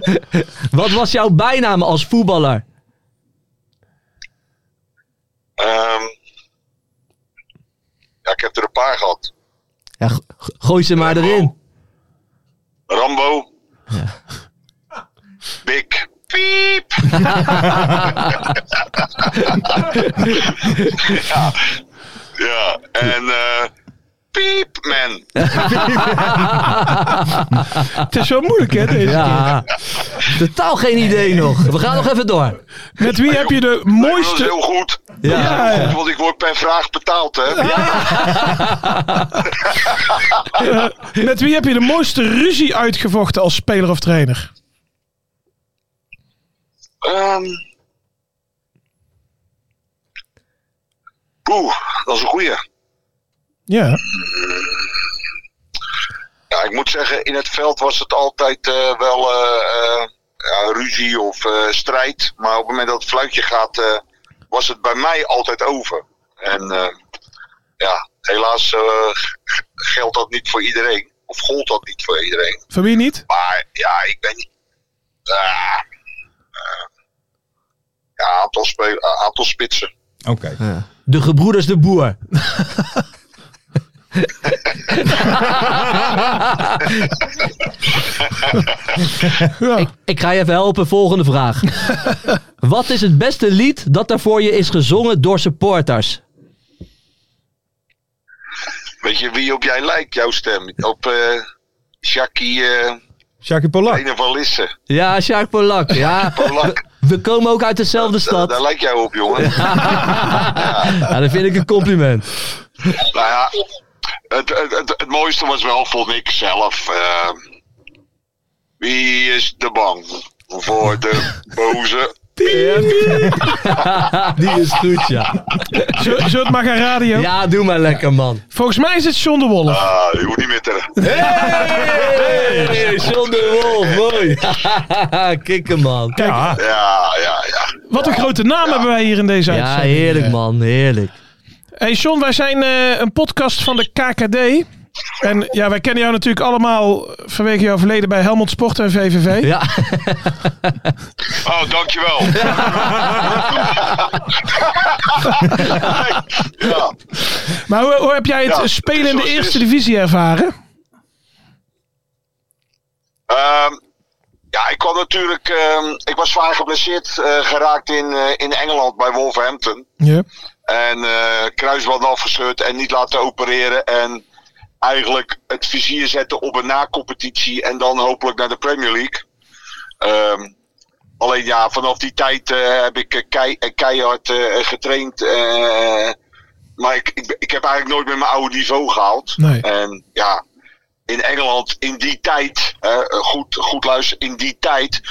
I: [LAUGHS] wat was jouw bijnaam als voetballer?
B: Ehm, ja, ik heb er een paar gehad.
I: Ja, go- gooi ze maar erin.
B: Rambo. Big. Piep. ja. ja, en eh, Piepman.
J: [LAUGHS] Het is wel moeilijk, hè? Deze.
I: Ja, totaal geen idee nog. We gaan nog even door.
J: Met wie heb je de
B: Dat is
J: mooiste... Ah,
B: heel goed.
I: Ja,
J: Ja, ja.
B: Want ik word per vraag betaald, hè? [LAUGHS]
J: Eh, met wie heb je de mooiste ruzie uitgevochten als speler of trainer?
B: Ehm. Oeh, dat is een goeie.
J: Ja.
B: Ja, ik moet zeggen, in het veld was het altijd eh, wel eh, eh, ja, ruzie of eh, strijd. Maar op het moment dat het fluitje gaat, eh, was het bij mij altijd over. En eh, ja, helaas eh, g- g- geldt dat niet voor iedereen. Of gold dat niet voor iedereen.
J: Van wie niet?
B: Maar ja, ik ben. Ah, eh, ja, aantal, spe- eh, aantal spitsen.
H: Oké.
I: De gebroeders de boer. ik, ik ga je even helpen. Volgende vraag. Wat is het beste lied dat daarvoor je is gezongen door supporters?
B: Weet je wie op jij lijkt, jouw stem? Op eh Jackie eh
H: Jackie Polak.
B: Ene van Lisse.
I: Ja, Sjaak Polak. Ja, [LAUGHS]
B: Polak,
I: we komen ook uit dezelfde
B: daar, daar
I: stad.
B: lijk jij op, jongen.
I: Ja, dat vind ik een compliment.
B: [LAUGHS] Nou ja, het, het, het, het mooiste was wel, vond ik zelf. eh, wie is te bang
I: [LAUGHS]
B: voor de boze?
I: Die is goed, ja.
J: Zul- Zullen we het maar gaan radio?
I: Ja, doe maar lekker, man.
J: Volgens mij is het John de Wolf.
B: Ah, je hoeft niet meer te.
I: Hey, John de Wolf, mooi. [LAUGHS] Kikken, man.
J: Kijk,
B: Ja, ja, ja.
J: wat een grote naam hebben wij hier in deze
I: Ja,
J: uitzending.
I: heerlijk, man. Heerlijk.
J: Hey John, wij zijn eh, een podcast van de KKD. En ja, wij kennen jou natuurlijk allemaal vanwege jouw verleden bij Helmond Sport en VVV.
I: Ja,
B: Oh, dankjewel. ja.
J: Maar hoe, hoe heb jij het
B: Ja,
J: spelen in
B: zoals
J: de
B: het
J: eerste
B: is.
J: divisie ervaren?
B: Ehm, ja, ik kwam natuurlijk. ehm, ik was zwaar geblesseerd eh, geraakt in, eh, in Engeland bij Wolverhampton.
J: Ja.
B: En eh kruisband afgescheurd en niet laten opereren. En eigenlijk het vizier zetten op een na-competitie en dan hopelijk naar de Premier League. Ehm, alleen ja, vanaf die tijd eh, heb ik eh, kei- eh, keihard eh, getraind. eh, maar ik, ik, ik heb eigenlijk nooit meer mijn oude niveau gehaald.
J: Nee.
B: En ja, in Engeland in die tijd, eh, goed, goed luisteren, in die tijd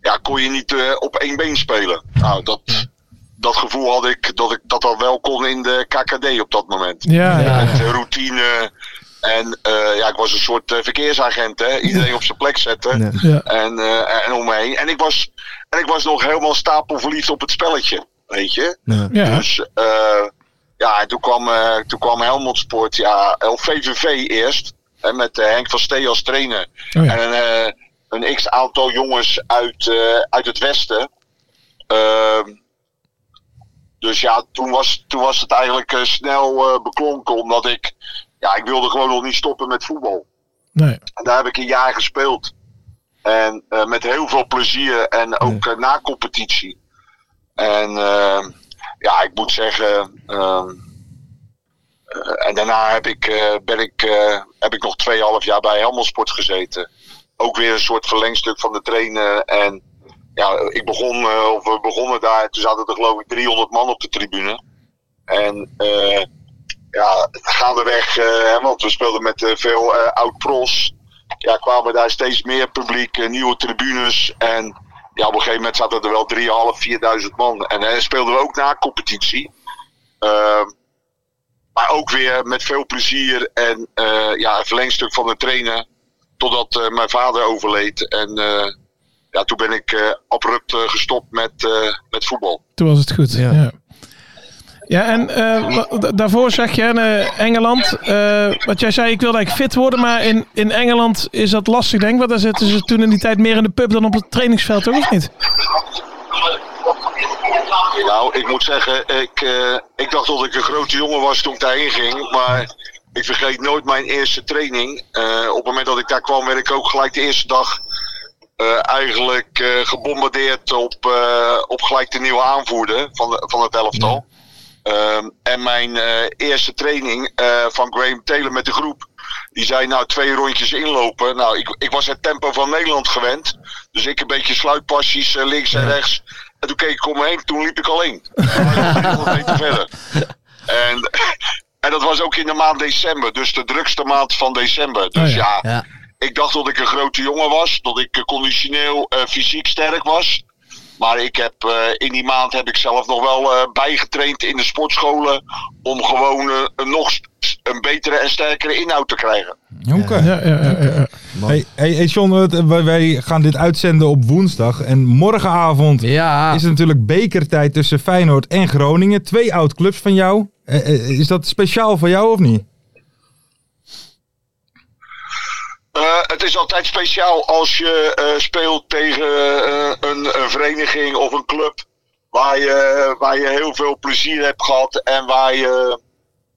B: ja, kon je niet eh, op één been spelen. Nou, dat, dat gevoel had ik dat ik dat al wel kon in de KKD op dat moment.
J: Ja, ja.
B: Met eh, routine. En eh, ja, ik was een soort eh, verkeersagent, hè? iedereen op zijn plek zetten
J: Ja.
B: en, eh, en omheen. En ik, was, en ik was nog helemaal stapelverliefd op het spelletje, weet je.
J: ja.
B: Dus eh, ja, en toen kwam, eh, toen kwam Helmond Sport, ja, eh, VVV eerst. Hè, met eh, Henk van Stee als trainer.
J: Oh ja.
B: En eh, een x aantal jongens uit, eh, uit het Westen. Ehm, dus ja, toen was, toen was het eigenlijk eh, snel eh, beklonken. Omdat ik, ja, ik wilde gewoon nog niet stoppen met voetbal.
J: Nee.
B: En daar heb ik een jaar gespeeld. En eh, met heel veel plezier en ook eh, na competitie. En ehm, ja, ik moet zeggen. ehm, eh, en daarna heb ik, eh, ben ik, eh, heb ik nog 2,5 jaar bij Helmond Sport gezeten. Ook weer een soort verlengstuk van de trainer. En ja, ik begon, eh, of we begonnen daar. Toen zaten er geloof ik 300 man op de tribune. En eh, ja, gaandeweg, eh, hè, want we speelden met eh, veel eh, oud-pros. Ja, kwamen daar steeds meer publiek, eh, nieuwe tribunes. En ja, op een gegeven moment zaten er wel 3.500, 4.000 man. En eh, speelden we ook na competitie. Ehm, maar ook weer met veel plezier en eh, ja, een verlengstuk van de trainer. Totdat eh, mijn vader overleed. En eh, ja, toen ben ik eh, abrupt eh, gestopt met, eh, met voetbal.
J: Toen was het goed. Ja. ja. en eh, wa- da- daarvoor zeg je, eh, Engeland, eh wat jij zei, ik wilde eigenlijk fit worden, maar in, in Engeland is dat lastig, denk ik. Want daar zitten ze toen in die tijd meer in de pub dan op het trainingsveld, toch? Of niet?
B: Nou, ik moet zeggen, ik, eh, ik dacht dat ik een grote jongen was toen ik daarheen ging. Maar ik vergeet nooit mijn eerste training. Eh, op het moment dat ik daar kwam, werd ik ook gelijk de eerste dag eh, eigenlijk eh, gebombardeerd op, eh, op gelijk de nieuwe aanvoerder van, de, van het elftal. Ehm, en mijn eh, eerste training eh, van Graham Taylor met de groep. Die zei nou twee rondjes inlopen. Nou, ik, ik was het tempo van Nederland gewend. Dus ik een beetje sluitpassies eh, links en rechts. En toen keek ik om me heen, toen liep ik alleen. [LAUGHS] En dan liep ik 100 meter
J: [LAUGHS]
B: verder. En, [LAUGHS] en dat was ook in de maand december. Dus de drukste maand van december. Dus
J: Oh ja.
B: ja, ik dacht dat ik een grote jongen was. Dat ik eh, conditioneel, eh, fysiek sterk was. Maar ik heb, eh, in die maand heb ik zelf nog wel eh, bijgetraind in de sportscholen. Om gewoon eh, nog st- een betere en sterkere inhoud te krijgen.
H: Oké.
J: Ja, ja, ja, ja, ja.
H: Hey, hey, hey John, wat- wij, wij gaan dit uitzenden op woensdag. En morgenavond
I: Ja.
H: is het natuurlijk bekertijd tussen Feyenoord en Groningen. Twee oud-clubs van jou. Eh, eh, is dat speciaal voor jou of niet?
B: Eh, het is altijd speciaal als je eh, speelt tegen eh, een, een vereniging of een club waar je, waar je heel veel plezier hebt gehad en waar je,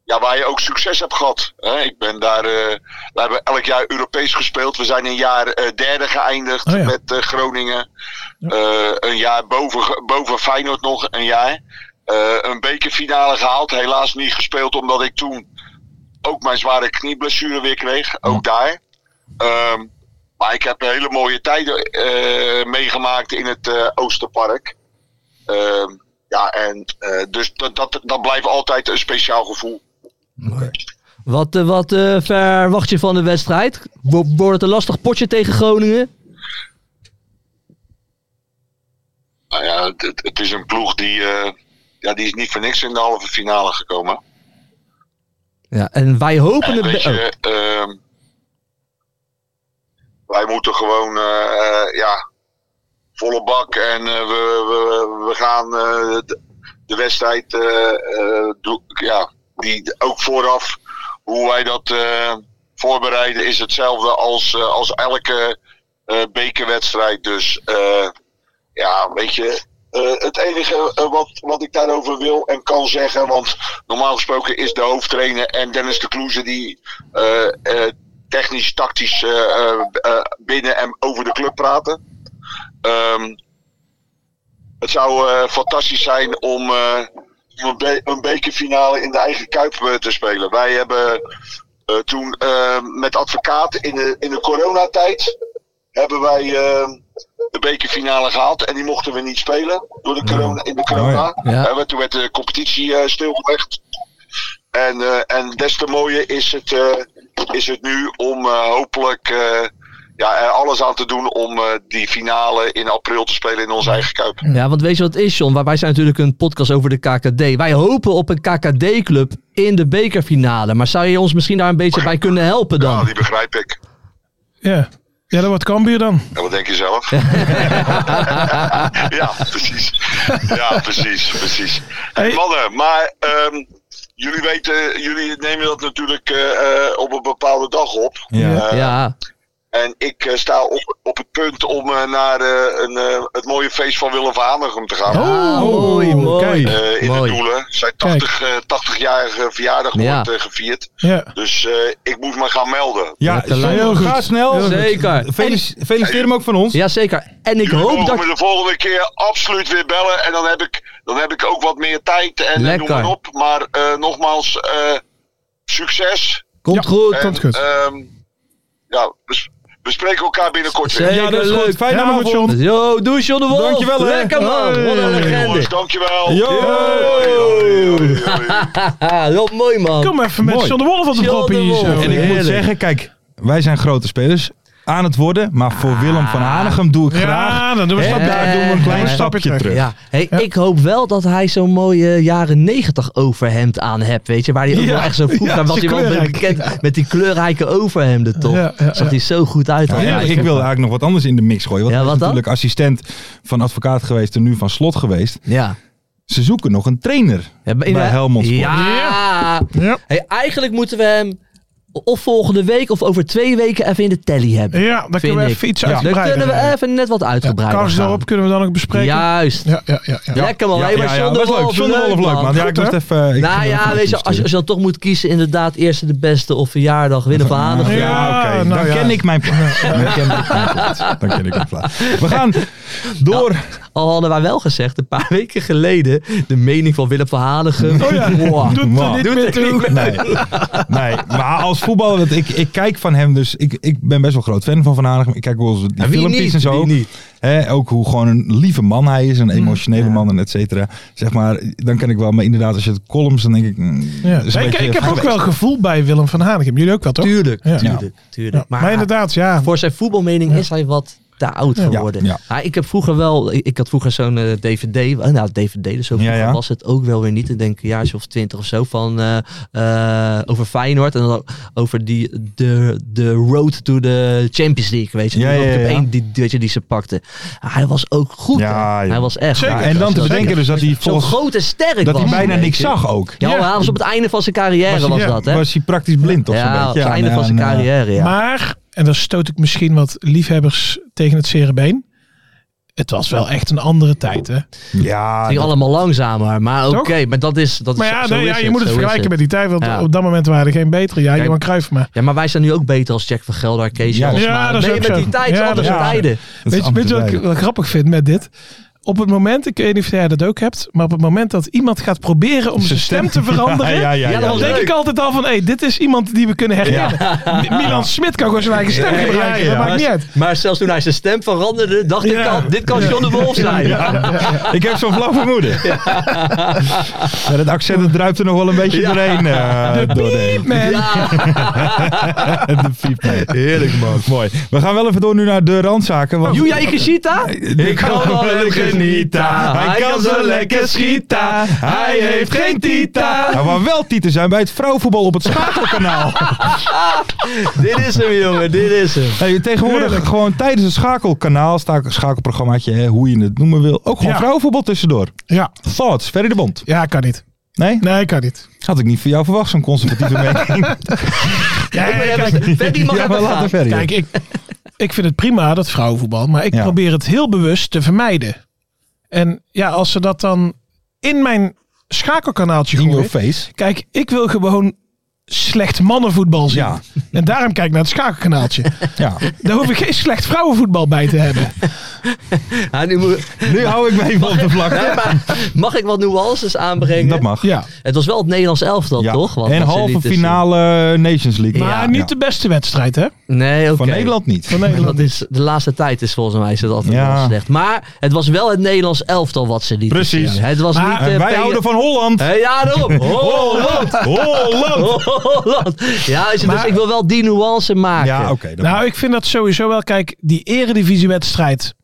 B: ja, waar je ook succes hebt gehad. Hè, ik ben daar, eh we hebben elk jaar Europees gespeeld. We zijn een jaar eh, derde geëindigd
J: Oh ja.
B: met eh, Groningen. Eh, een jaar boven, boven Feyenoord nog een jaar. Eh, een bekerfinale gehaald, helaas niet gespeeld omdat ik toen ook mijn zware knieblessure weer kreeg. Ook daar. Ehm, maar ik heb hele mooie tijden eh, meegemaakt in het eh, Oosterpark. Ehm, ja, en eh, dus dat, dat, dat blijft altijd een speciaal gevoel.
I: Wat, eh, wat eh, verwacht je van de wedstrijd? Wo- Wordt het een lastig potje tegen Groningen?
B: Nou ja, het- het, het is een ploeg die, eh, ja, die is niet voor niks in de halve finale gekomen.
I: Ja, en wij hopen
B: En
I: het
B: weet
I: be- oh,
B: je, ehm, wij moeten gewoon, eh, eh, ja, volle bak en eh, we, we, we gaan eh, de, de wedstrijd, eh, eh, doe- ja, die ook vooraf, hoe wij dat eh, voorbereiden is hetzelfde als, eh, als elke eh, bekerwedstrijd. Dus eh, ja, weet je. eh, het enige eh, wat, wat ik daarover wil en kan zeggen, want normaal gesproken is de hoofdtrainer en Dennis de Kloeze die eh, eh, technisch, tactisch eh, eh, eh, binnen en over de club praten. Ehm, het zou eh, fantastisch zijn om eh, om een, be- een bekerfinale in de eigen kuip eh, te spelen. Wij hebben eh, toen eh, met advocaat in de, in de coronatijd hebben wij eh, de bekerfinale gehaald en die mochten we niet spelen door de corona, in de corona.
H: Oh
I: ja. Ja.
B: Eh, want toen werd de competitie eh, stilgelegd. En, eh, en des te mooier is het, eh, is het nu om eh, hopelijk eh, ja, er alles aan te doen om eh, die finale in april te spelen in onze eigen kuip.
I: oh. Ja, want weet je wat het is, John? Wij- Wij zijn natuurlijk een podcast over de KKD. Wij hopen op een KKD-club in de bekerfinale. Maar zou je ons misschien daar een beetje bij kunnen helpen
B: Ja,
I: dan?
B: die begrijp ik.
J: Ja. ja, dat wordt Cambuur dan.
B: En wat denk je zelf? [LAUGHS] ja, precies. Ja, precies, precies. Hey,
J: Hey.
B: mannen, maar ehm, jullie weten, jullie nemen dat natuurlijk eh, eh, op een bepaalde dag op.
H: Ja.
B: Eh,
I: Ja,
B: En ik eh, sta op, op het punt om eh, naar eh, een, eh, het mooie feest van Willem van Hanegem te gaan.
I: Ah, mooi,
H: oh,
I: mooi.
H: kijk.
B: Eh, in
I: mooi.
B: de Doelen. Zijn 80, eh, 80-jarige verjaardag
I: Ja.
B: wordt eh, gevierd.
J: Ja.
B: Dus eh, ik moet me gaan melden.
H: Ja,
I: Lekker,
H: John,
J: heel goed.
H: ga snel.
I: Zeker.
H: Felici- feliciteer hem ook van ons.
I: Jazeker. En ik
B: Jullie
I: hoop
B: mogen
I: dat...
B: me de volgende keer absoluut weer bellen. En dan heb ik, dan heb ik ook wat meer tijd. En eh,
I: Lekker.
B: noem maar op. Maar eh, nogmaals, eh, succes.
I: Komt goed.
B: En,
J: Komt goed.
B: ehm, ja, we, we spreken elkaar binnenkort weer.
I: Zeker
H: Ja, dat is
I: leuk.
H: goed. Fijne
J: Helemaal goed,
H: avond.
J: John.
I: Yo, doei John de Wolf.
H: Dankjewel, hè.
I: Lekker man. Wat een
H: Hey.
I: legende.
B: Jongens, dankjewel.
H: Yo.
B: Hoi, hoi, hoi, hoi.
I: Haha, wat Ah, mooi man.
J: Kom even met
H: Mooi.
J: John de Wolf op de
I: John
J: prop
I: de
J: hier
I: Wolf.
J: zo.
H: En ik moet
I: Heerlijk.
H: zeggen, kijk, wij zijn grote spelers aan het worden. Maar voor Willem van Hanegem doe ik graag.
J: Ja, dan doen we
H: Hè,
J: een stapje.
H: daar doen we een klein
J: Ja,
H: stapje terug.
I: Ja, hey, ik hoop wel dat hij zo'n mooie jaren 90 overhemd aan hebt, weet je. Waar hij ook
J: Ja,
I: wel echt zo vroeg
J: ja,
I: aan was.
J: zo
I: Hij wel
J: kleurrijk.
I: bekend met die kleurrijke overhemden, toch?
J: Ja, ja,
I: Zag
J: ja.
I: hij zo goed uit.
H: Ja,
I: altijd.
H: ik wilde eigenlijk nog wat anders in de mix gooien. Want
I: Ja,
H: hij is
I: wat dan?
H: natuurlijk assistent van advocaat geweest en nu van slot geweest.
I: Ja.
H: Ze zoeken nog een trainer
I: Ja,
H: bij
I: in de-
H: Helmond Sport.
I: Ja.
J: Ja.
I: Hey, eigenlijk moeten we hem of volgende week of over twee weken even in de tally hebben.
J: Ja, dan
I: Vind
J: kunnen we
I: ik.
J: even iets
I: Dan
J: uitgebreider.
I: kunnen we even net wat uitgebreider
J: Kous
I: gaan.
J: daarop kunnen we dan ook bespreken.
I: Juist.
J: Ja, ja, ja. ja.
I: Lekker man. hey, maar John de
H: was leuk.
I: Wolf,
H: John de Wolf, leuk man. Ja, ik
J: Goed,
H: moest
J: hè?
H: even... ik ging
I: Nou
H: er even
I: ja,
H: naartoe
I: weet je, als je, als je dan toch moet kiezen, inderdaad, eerste de beste of verjaardag, winnen van
H: Ah,
I: Hanegem.
J: Ja,
H: Ja, oké.
J: nou
H: Dan
J: ja.
H: ken ik mijn [LAUGHS] plaats. Dan ken ik mijn plaats. Dan ken ik mijn plaats. We gaan door.
I: Al hadden wij wel gezegd, een paar [LAUGHS] weken geleden, de mening van Willem van Hanegem.
J: Oh ja.
I: Wow.
J: Doet er
H: Man.
J: niet
I: Doet
J: meer
I: er
J: toe.
I: niet
H: Nee. nee, maar als voetballer, want ik, ik kijk van hem dus, ik, ik ben best wel groot fan van Van Hanegem. Ik kijk wel eens die
I: En wie
H: filmpjes
I: niet?
H: en zo.
I: Wie niet?
H: Hè, ook hoe gewoon een lieve man hij is, een
J: Mm,
H: emotionele man en et cetera. Zeg maar, dan kan ik wel, maar inderdaad als je het columns, dan denk ik... mm,
J: Ja.
H: is een
J: Ik,
H: beetje-
J: ik heb ook wel gevoel bij Willem van Hanegem. Jullie ook wel, toch?
I: Tuurlijk,
J: Ja.
I: tuurlijk, tuurlijk.
J: Ja. Maar,
I: Maar
J: inderdaad, ja.
I: voor zijn voetbalmening is hij wat te oud
J: Ja.
I: geworden.
H: Ah. Ja.
I: Maar ik heb vroeger wel, ik, ik had vroeger zo'n eh, DVD, eh, nou DVD, dus zo
H: Ja,
I: vroeger
H: ja.
I: was het ook wel weer niet. Ik denk een jaartje of twintig of zo van eh, eh, over Feyenoord en dan over die de, de road to the Champions League, weet je.
H: Ja,
I: Die
H: ja,
I: ook op
H: ja.
I: één die, die- weet je, die ze pakte. Ah, hij was ook goed.
H: Ja,
I: hè.
H: joh.
I: hij was echt.
J: Zeker.
I: ja,
H: En dan te
I: dat-
H: bedenken dus dat hij
I: Zo'n
H: volgens
I: grote sterk
H: dat
I: was.
H: hij bijna
I: weet
H: niks
I: je.
H: zag ook.
I: Ja,
J: Ja.
I: maar hij was op het einde van zijn carrière was,
H: hij,
I: dat, hè?
H: was hij praktisch blind of zo'n
I: ja, op
H: beetje?
I: het einde
J: nou,
H: en-
I: van zijn
H: en, eh,
I: carrière, ja.
J: Maar, en dan stoot ik misschien wat liefhebbers tegen het zere been. Het was wel echt een andere tijd, hè?
H: ja,
I: Het ging allemaal langzamer, maar oké,
J: Toch?
I: maar dat is... Dat
J: Maar
I: is
J: ja,
I: zo
J: nee,
I: is
J: ja je moet het
I: zo is
J: vergelijken met die tijd, want
I: Ja.
J: op dat moment waren er geen betere. Ja,
I: Kijk,
J: Johan Cruijff maar.
I: Ja, maar wij zijn nu ook beter als Jack van Gelder, Kees
H: Ja,
I: Jansma.
J: ja, dat is
I: nee,
J: ook
I: met
J: zo.
I: die tijd,
J: Ja,
I: zijn
J: dat
I: andere
J: is waar.
I: tijden.
H: dat is
J: Weet je, weet je wat ik
H: ambtelijk.
J: wel grappig vind met dit? Op het moment, ik weet niet of jij dat ook hebt, maar op het moment dat iemand gaat proberen om zijn stem te veranderen,
H: Ja, ja, ja,
I: Ja, dat
H: ja,
J: dan
H: ja.
J: denk ik altijd al van, hé, dit is iemand die we kunnen herkennen. [LAUGHS] M- Milan Smit kan gewoon zijn eigen stem gebruiken,
H: ja, ja.
J: dat maakt niet uit.
I: Maar zelfs toen hij zijn stem veranderde, dacht ik
J: Ja.
I: al, dit kan John de Wolf zijn.
H: Ik heb zo'n vlak vermoeden. Maar dat accent dat druipt er nog wel een beetje doorheen. eh, doorheen.
J: Man. [LAUGHS]
H: De piep, nee. Heerlijk man. Mooi. We gaan wel even door nu naar de randzaken.
J: Oh.
H: Want...
I: Yuya Ikeshita?
H: Ik kan wel lekker genieten. Hij kan zo lekker schieten. Hij heeft geen tita. Nou, maar wel tieten zijn bij het vrouwenvoetbal op het
J: [LAUGHS]
H: schakelkanaal.
I: Dit is hem, jongen, dit is hem.
H: Hey, tegenwoordig gewoon tijdens het schakelkanaal, sta- schakelprogrammaatje, hè, hoe je het noemen wil. Ook gewoon
J: Ja.
H: vrouwenvoetbal tussendoor.
J: Ja,
H: Thoughts, Ferry de Bond.
J: ja, kan niet.
H: Nee?
J: Nee, kan niet.
H: Had ik niet van jou verwacht, zo'n
J: [LAUGHS]
H: conservatieve mening.
J: Ja,
I: Ik ben
J: kijk,
I: even- Freddy mag
H: ja, maar
I: even
H: later
I: gaan.
H: Ferry.
J: Kijk, ik, ik vind het prima, dat vrouwenvoetbal. Maar ik
H: Ja.
J: probeer het heel bewust te vermijden. En ja, als ze dat dan in mijn schakelkanaaltje
H: In your
J: gooien.
H: face.
J: Kijk, ik wil gewoon slecht mannenvoetbal zien.
H: Ja.
J: En daarom kijk ik naar het schakelkanaaltje.
H: Ja.
J: Daar hoef ik geen slecht vrouwenvoetbal bij te hebben.
I: Ja, nu moet-
H: Nu hou ik me even op de
I: Nee,
H: vlakte.
I: maar [LAUGHS] mag ik wat nuances aanbrengen?
H: Dat mag.
J: Ja.
I: Het was wel het Nederlands elftal,
H: Ja.
I: toch? Wat-
H: en
I: wat ze
H: halve
I: lieten zien.
H: finale Nations League.
J: Maar
I: Ja,
J: niet
H: ja.
J: de beste wedstrijd, hè?
I: Nee, oké.
H: Van Nederland niet.
J: Van
I: En
J: Nederland.
I: Dat is, de laatste tijd is volgens mij is dat altijd
H: Ja.
I: wel slecht. Maar het was wel het Nederlands elftal wat ze lieten
H: Precies.
I: zien. Het was
J: Maar
I: niet,
H: En
I: eh,
H: wij
I: P-
H: houden van Holland.
I: Hé, ja,
H: [LAUGHS]
I: daarom. Holland.
J: Oh.
H: Holland.
I: Holland. Ja, dus
J: Maar-
I: ik wil wel die nuance maken.
H: Ja, oké. dat
J: Nou, ik vind dat sowieso wel. Kijk, die eredivisiewedstrijd.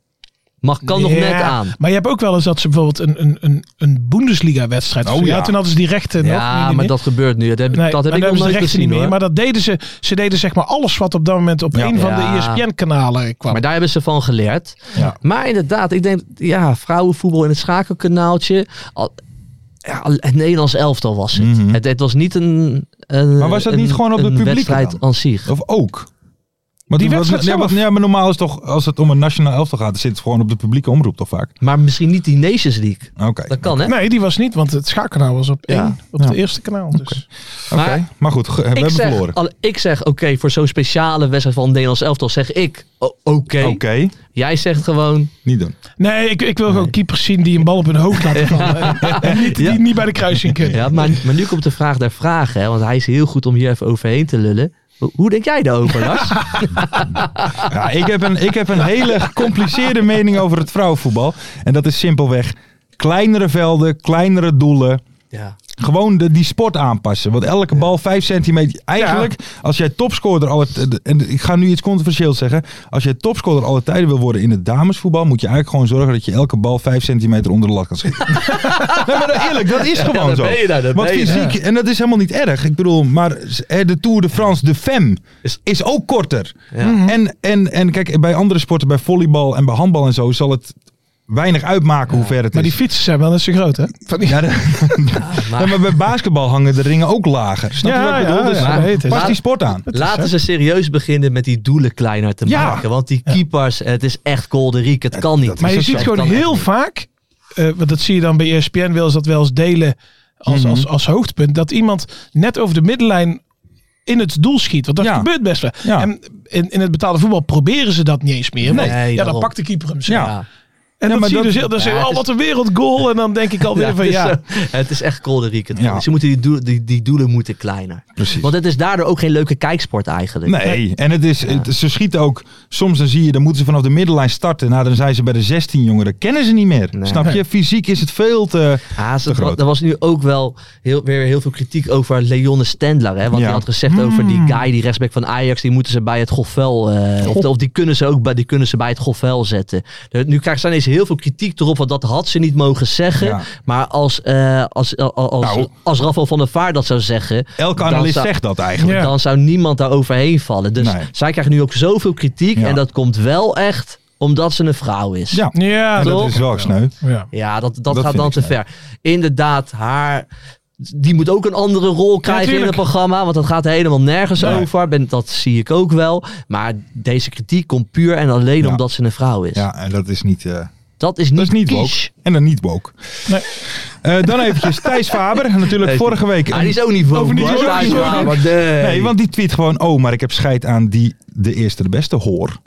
I: Mag, kan nog
J: Ja,
I: net aan.
J: Maar je hebt ook wel eens dat ze bijvoorbeeld een, een, een, een Bundesliga-wedstrijd.
H: Oh,
J: ja.
H: ja.
J: toen hadden ze die rechten nog. Nee,
I: Ja,
J: nee,
I: maar
J: nee.
I: dat gebeurt nu. Dat heb,
J: Nee,
I: dat heb
J: maar
I: ik
J: daar hebben
I: nog
J: ze
I: nooit
J: de rechten
I: gezien
J: niet meer.
I: hoor. Maar,
J: Maar dat deden ze. Ze deden zeg maar alles wat op dat moment op
H: Ja.
J: een van
I: Ja.
J: de E ESPN-kanalen kwam.
I: daar hebben ze van geleerd.
H: Ja.
I: Maar inderdaad, ik denk, ja, vrouwenvoetbal in het schakelkanaaltje. Al, ja, het Nederlands elftal was het.
H: Mhm.
I: het. Het was niet een, een
H: Maar was dat
I: een-
H: niet gewoon op de
I: een
H: publieke
I: wedstrijd
H: dan?
I: aan zich?
H: Of ook. Maar
J: Die
H: toen-
J: wedstrijd
H: ja, maar,
J: zelf.
H: ja, maar normaal is toch, als het om een nationaal elftal gaat, dan zit het gewoon op de publieke omroep toch vaak.
I: Maar misschien niet die Nations League.
H: Oké.
I: Dat kan, hè?
J: Nee, die was niet, want het schakelkanaal was op
I: Ja.
J: één, op
H: Ja.
J: het eerste kanaal. Dus.
H: Oké.
I: Maar
H: Maar goed, [LAUGHS] ge- we
I: ik
H: hebben
I: zeg,
H: verloren.
I: al- ik zeg, oké, voor zo'n speciale wedstrijd van het Nederlands elftal zeg ik, o- oké.
H: Oké,
I: Jij zegt gewoon,
H: niet doen.
J: Nee, ik, ik wil gewoon keepers zien die een bal op hun hoofd laten vallen. En niet,
I: Ja.
J: die niet bij de kruising kunnen.
I: ja, maar, maar nu komt de vraag der vragen, hè, want hij is heel goed om hier even overheen te lullen. Hoe, hoe denk jij daarover,
H: [LAUGHS]
I: Lars?
H: Ja, ik, heb een, ik heb een hele gecompliceerde mening over het vrouwenvoetbal. En dat is simpelweg kleinere velden, kleinere doelen.
I: ja.
H: Gewoon de, die sport aanpassen. Want elke bal 5 centimeter. Eigenlijk, als jij topscorer alle t- En ik ga nu iets controversieels zeggen. Als jij topscorer alle tijden wil worden in het damesvoetbal. moet je eigenlijk gewoon zorgen dat je elke bal 5 centimeter onder de lat
I: [LAUGHS]
H: kan schieten. nee, maar eerlijk, dat is gewoon
I: dan
H: zo.
I: ben je daar, dan
H: Want
I: ben je
H: fysiek, en dat is helemaal niet erg. Ik bedoel, maar eh, de Tour de France, de Fem,
I: Is-
H: is ook korter. Mhm.
I: Ja. Mhm.
H: En, en, en kijk, bij andere sporten, bij volleybal en bij handbal en zo, zal het weinig uitmaken hoe ver het
J: Maar
H: is.
J: die fietsen zijn wel eens zo groot, hè? Van die...
H: Ja, de-
I: maar-
H: Ja, maar bij basketbal hangen de ringen ook lager. Snap je
J: Ja,
H: wat ik
J: ja,
H: bedoel? Dus
J: ja,
H: pas
J: dat heet het.
H: die sport aan.
I: Laten ze serieus beginnen met die doelen kleiner te
H: Ja.
I: maken. Want die keepers, het is echt kolderiek. Het kan niet.
J: Maar je
I: Het
J: ziet
I: kan
J: gewoon
I: echt
J: heel
I: niet.
J: vaak, eh, want dat zie je dan bij ESPN wel eens dat wel eens delen als,
H: Mhm.
J: als, als hoogtepunt, dat iemand net over de middenlijn in het doel schiet. Want dat
H: Ja.
J: gebeurt best wel.
H: Ja.
J: En in, in het betaalde voetbal proberen ze dat niet eens meer. want,
I: Nee,
J: ja, dan
I: daarom.
J: pakt de keeper hem zo.
H: Ja.
I: Ja.
J: En
H: maar
J: dan zie je
H: dat-
J: dus heel, dan zeg je,
I: Ja,
J: oh
I: het
J: wat
I: is-
J: een wereldgoal. En dan denk ik alweer
I: Ja,
J: van
I: het,
J: ja.
I: is, eh, het is echt kolderiek. het
H: Ja.
I: voetbal. Ze moeten die, doelen, die, die doelen moeten kleiner.
H: Precies.
I: Want het is daardoor ook geen leuke kijksport eigenlijk.
H: Nee, en het is, het- ze schieten ook. Soms dan zie je, dan moeten ze vanaf de middenlijn starten. Nou, dan zijn ze bij de 16 jongeren. Kennen ze niet meer.
I: Nee.
H: Snap je? Fysiek is het veel te.
I: Ah,
H: Te
I: dat,
H: groot.
I: er was nu ook wel heel, weer heel veel kritiek over Leone Stendler. Hè? Want
H: Ja.
I: hij had gezegd over die guy, die rechtsback van Ajax, die moeten ze bij het gofvel. eh of, of die kunnen ze ook bij, die kunnen ze bij het gofvel zetten. Er- nu krijgt ze ineens heel veel kritiek erop, want dat had ze niet mogen zeggen.
H: Ja.
I: Maar als, eh als, als, als,
H: Nou.
I: als Rafael van der Vaart dat zou zeggen,
H: Elke
I: Dan
H: analist
I: zou-
H: zegt dat eigenlijk.
J: Ja.
I: dan zou niemand daar overheen vallen. Dus
H: Nee.
I: zij krijgt nu ook zoveel kritiek.
H: Ja.
I: En dat komt wel echt omdat ze een vrouw is.
H: Ja,
J: Ja,
H: en
J: dat-
H: dat
I: toch?
H: is wel sneu.
J: ja.
I: Ja, dat, dat,
H: Dat
I: gaat
H: vind
I: dan
H: ik
I: te ver. Inderdaad, haar. Die moet ook een andere rol krijgen in het
J: tuurlijk.
I: programma. Want dat gaat helemaal nergens
H: Nee.
I: over. Ben, dat zie ik ook wel. Maar deze kritiek komt puur en alleen
H: Ja.
I: omdat ze een vrouw is.
H: Ja, en dat is niet. eh,
I: Dat is niet,
H: dat is niet woke.
I: kies.
H: En dan niet woke. Eh, dan
I: [LAUGHS]
H: eventjes Thijs Faber. Natuurlijk
I: Thijs-
H: vorige week.
I: Ah, die is eh, ook niet woke.
H: Over die
I: hoor.
H: is ook
I: Daar
H: niet woke.
I: maar nee.
H: Nee, want die tweet gewoon, oh, maar ik heb scheid aan die de eerste de
I: [LAUGHS]
H: beste hoor.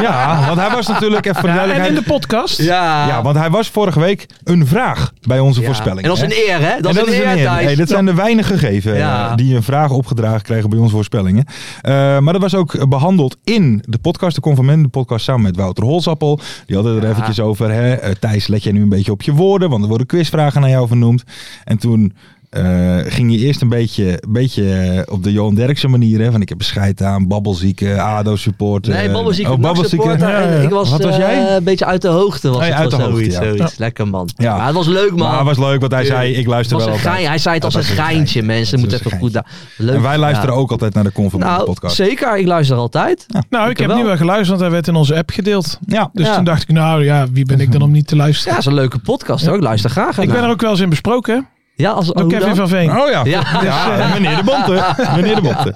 H: ja, want hij was natuurlijk, even voor de
J: Ja, en in
H: duidelijkheid...
J: de podcast.
I: Ja.
H: Ja, want hij was vorige week een vraag bij onze
I: Ja.
H: voorspelling.
I: En dat is
H: hè?
I: een eer, hè? Dat,
H: En
I: is een eer, Thijs.
H: Hey, dat zijn de weinige gegeven eh,
I: Ja.
H: die een vraag opgedragen kregen bij onze voorspellingen. Eh, maar dat was ook behandeld in de podcast, de Conformen, de podcast samen met Wouter Holsappel. Die hadden er eventjes over, hè, eh, Thijs, let jij nu een beetje op je woorden, want er worden quizvragen naar jou vernoemd. En toen eh, ging je eerst een beetje, beetje eh, op de Johan Derksen manier, hè, van ik heb bescheid aan, babbelzieke, ADO-support.
I: Nee, babbelziek.
H: Oh,
I: Max
H: babbelzieke.
I: supporter.
J: Ja, ja.
I: En Ik was
H: Wat was
I: eh,
H: jij?
I: een beetje uit de hoogte. Was
H: Oh, ja,
I: het
H: uit
I: wel
H: de hoogte,
I: zoiets,
H: ja.
I: zoiets. Lekker, man.
H: Ja.
I: Maar het was leuk, man.
H: Maar het Nou, was leuk, want hij
I: Tuurlijk.
H: zei, ik
I: Het
H: luister
I: was
H: wel
I: een
H: altijd.
I: gein. Hij zei het als
H: Dat
I: een
H: was een
I: geintje,
H: geintje.
I: mensen.
H: Dat
I: Moet
H: was een
I: even goed... Leuk.
H: En wij luisteren
I: Ja.
H: ook altijd naar de Conformen
I: Nou,
H: podcast.
I: zeker. Ik luister altijd.
H: [LAUGHS]
J: Nou, ik
I: Zeker
J: heb
I: wel.
J: nu wel geluisterd, want hij werd in onze app gedeeld.
H: Ja,
J: Dus
I: Ja.
J: toen dacht ik, nou ja, wie ben ik dan om niet te
I: Ja,
J: luisteren?
I: het is een leuke podcast hoor. Ik luister graag.
J: ik ben er
I: ernaar.
J: ook wel eens in besproken, hè?
I: Ja, als
J: Door
I: hoe
J: Kevin
I: dan?
J: van Veen.
H: Oh ja,
I: Ja.
H: ja. en meneer de Bonte. meneer de Bonte.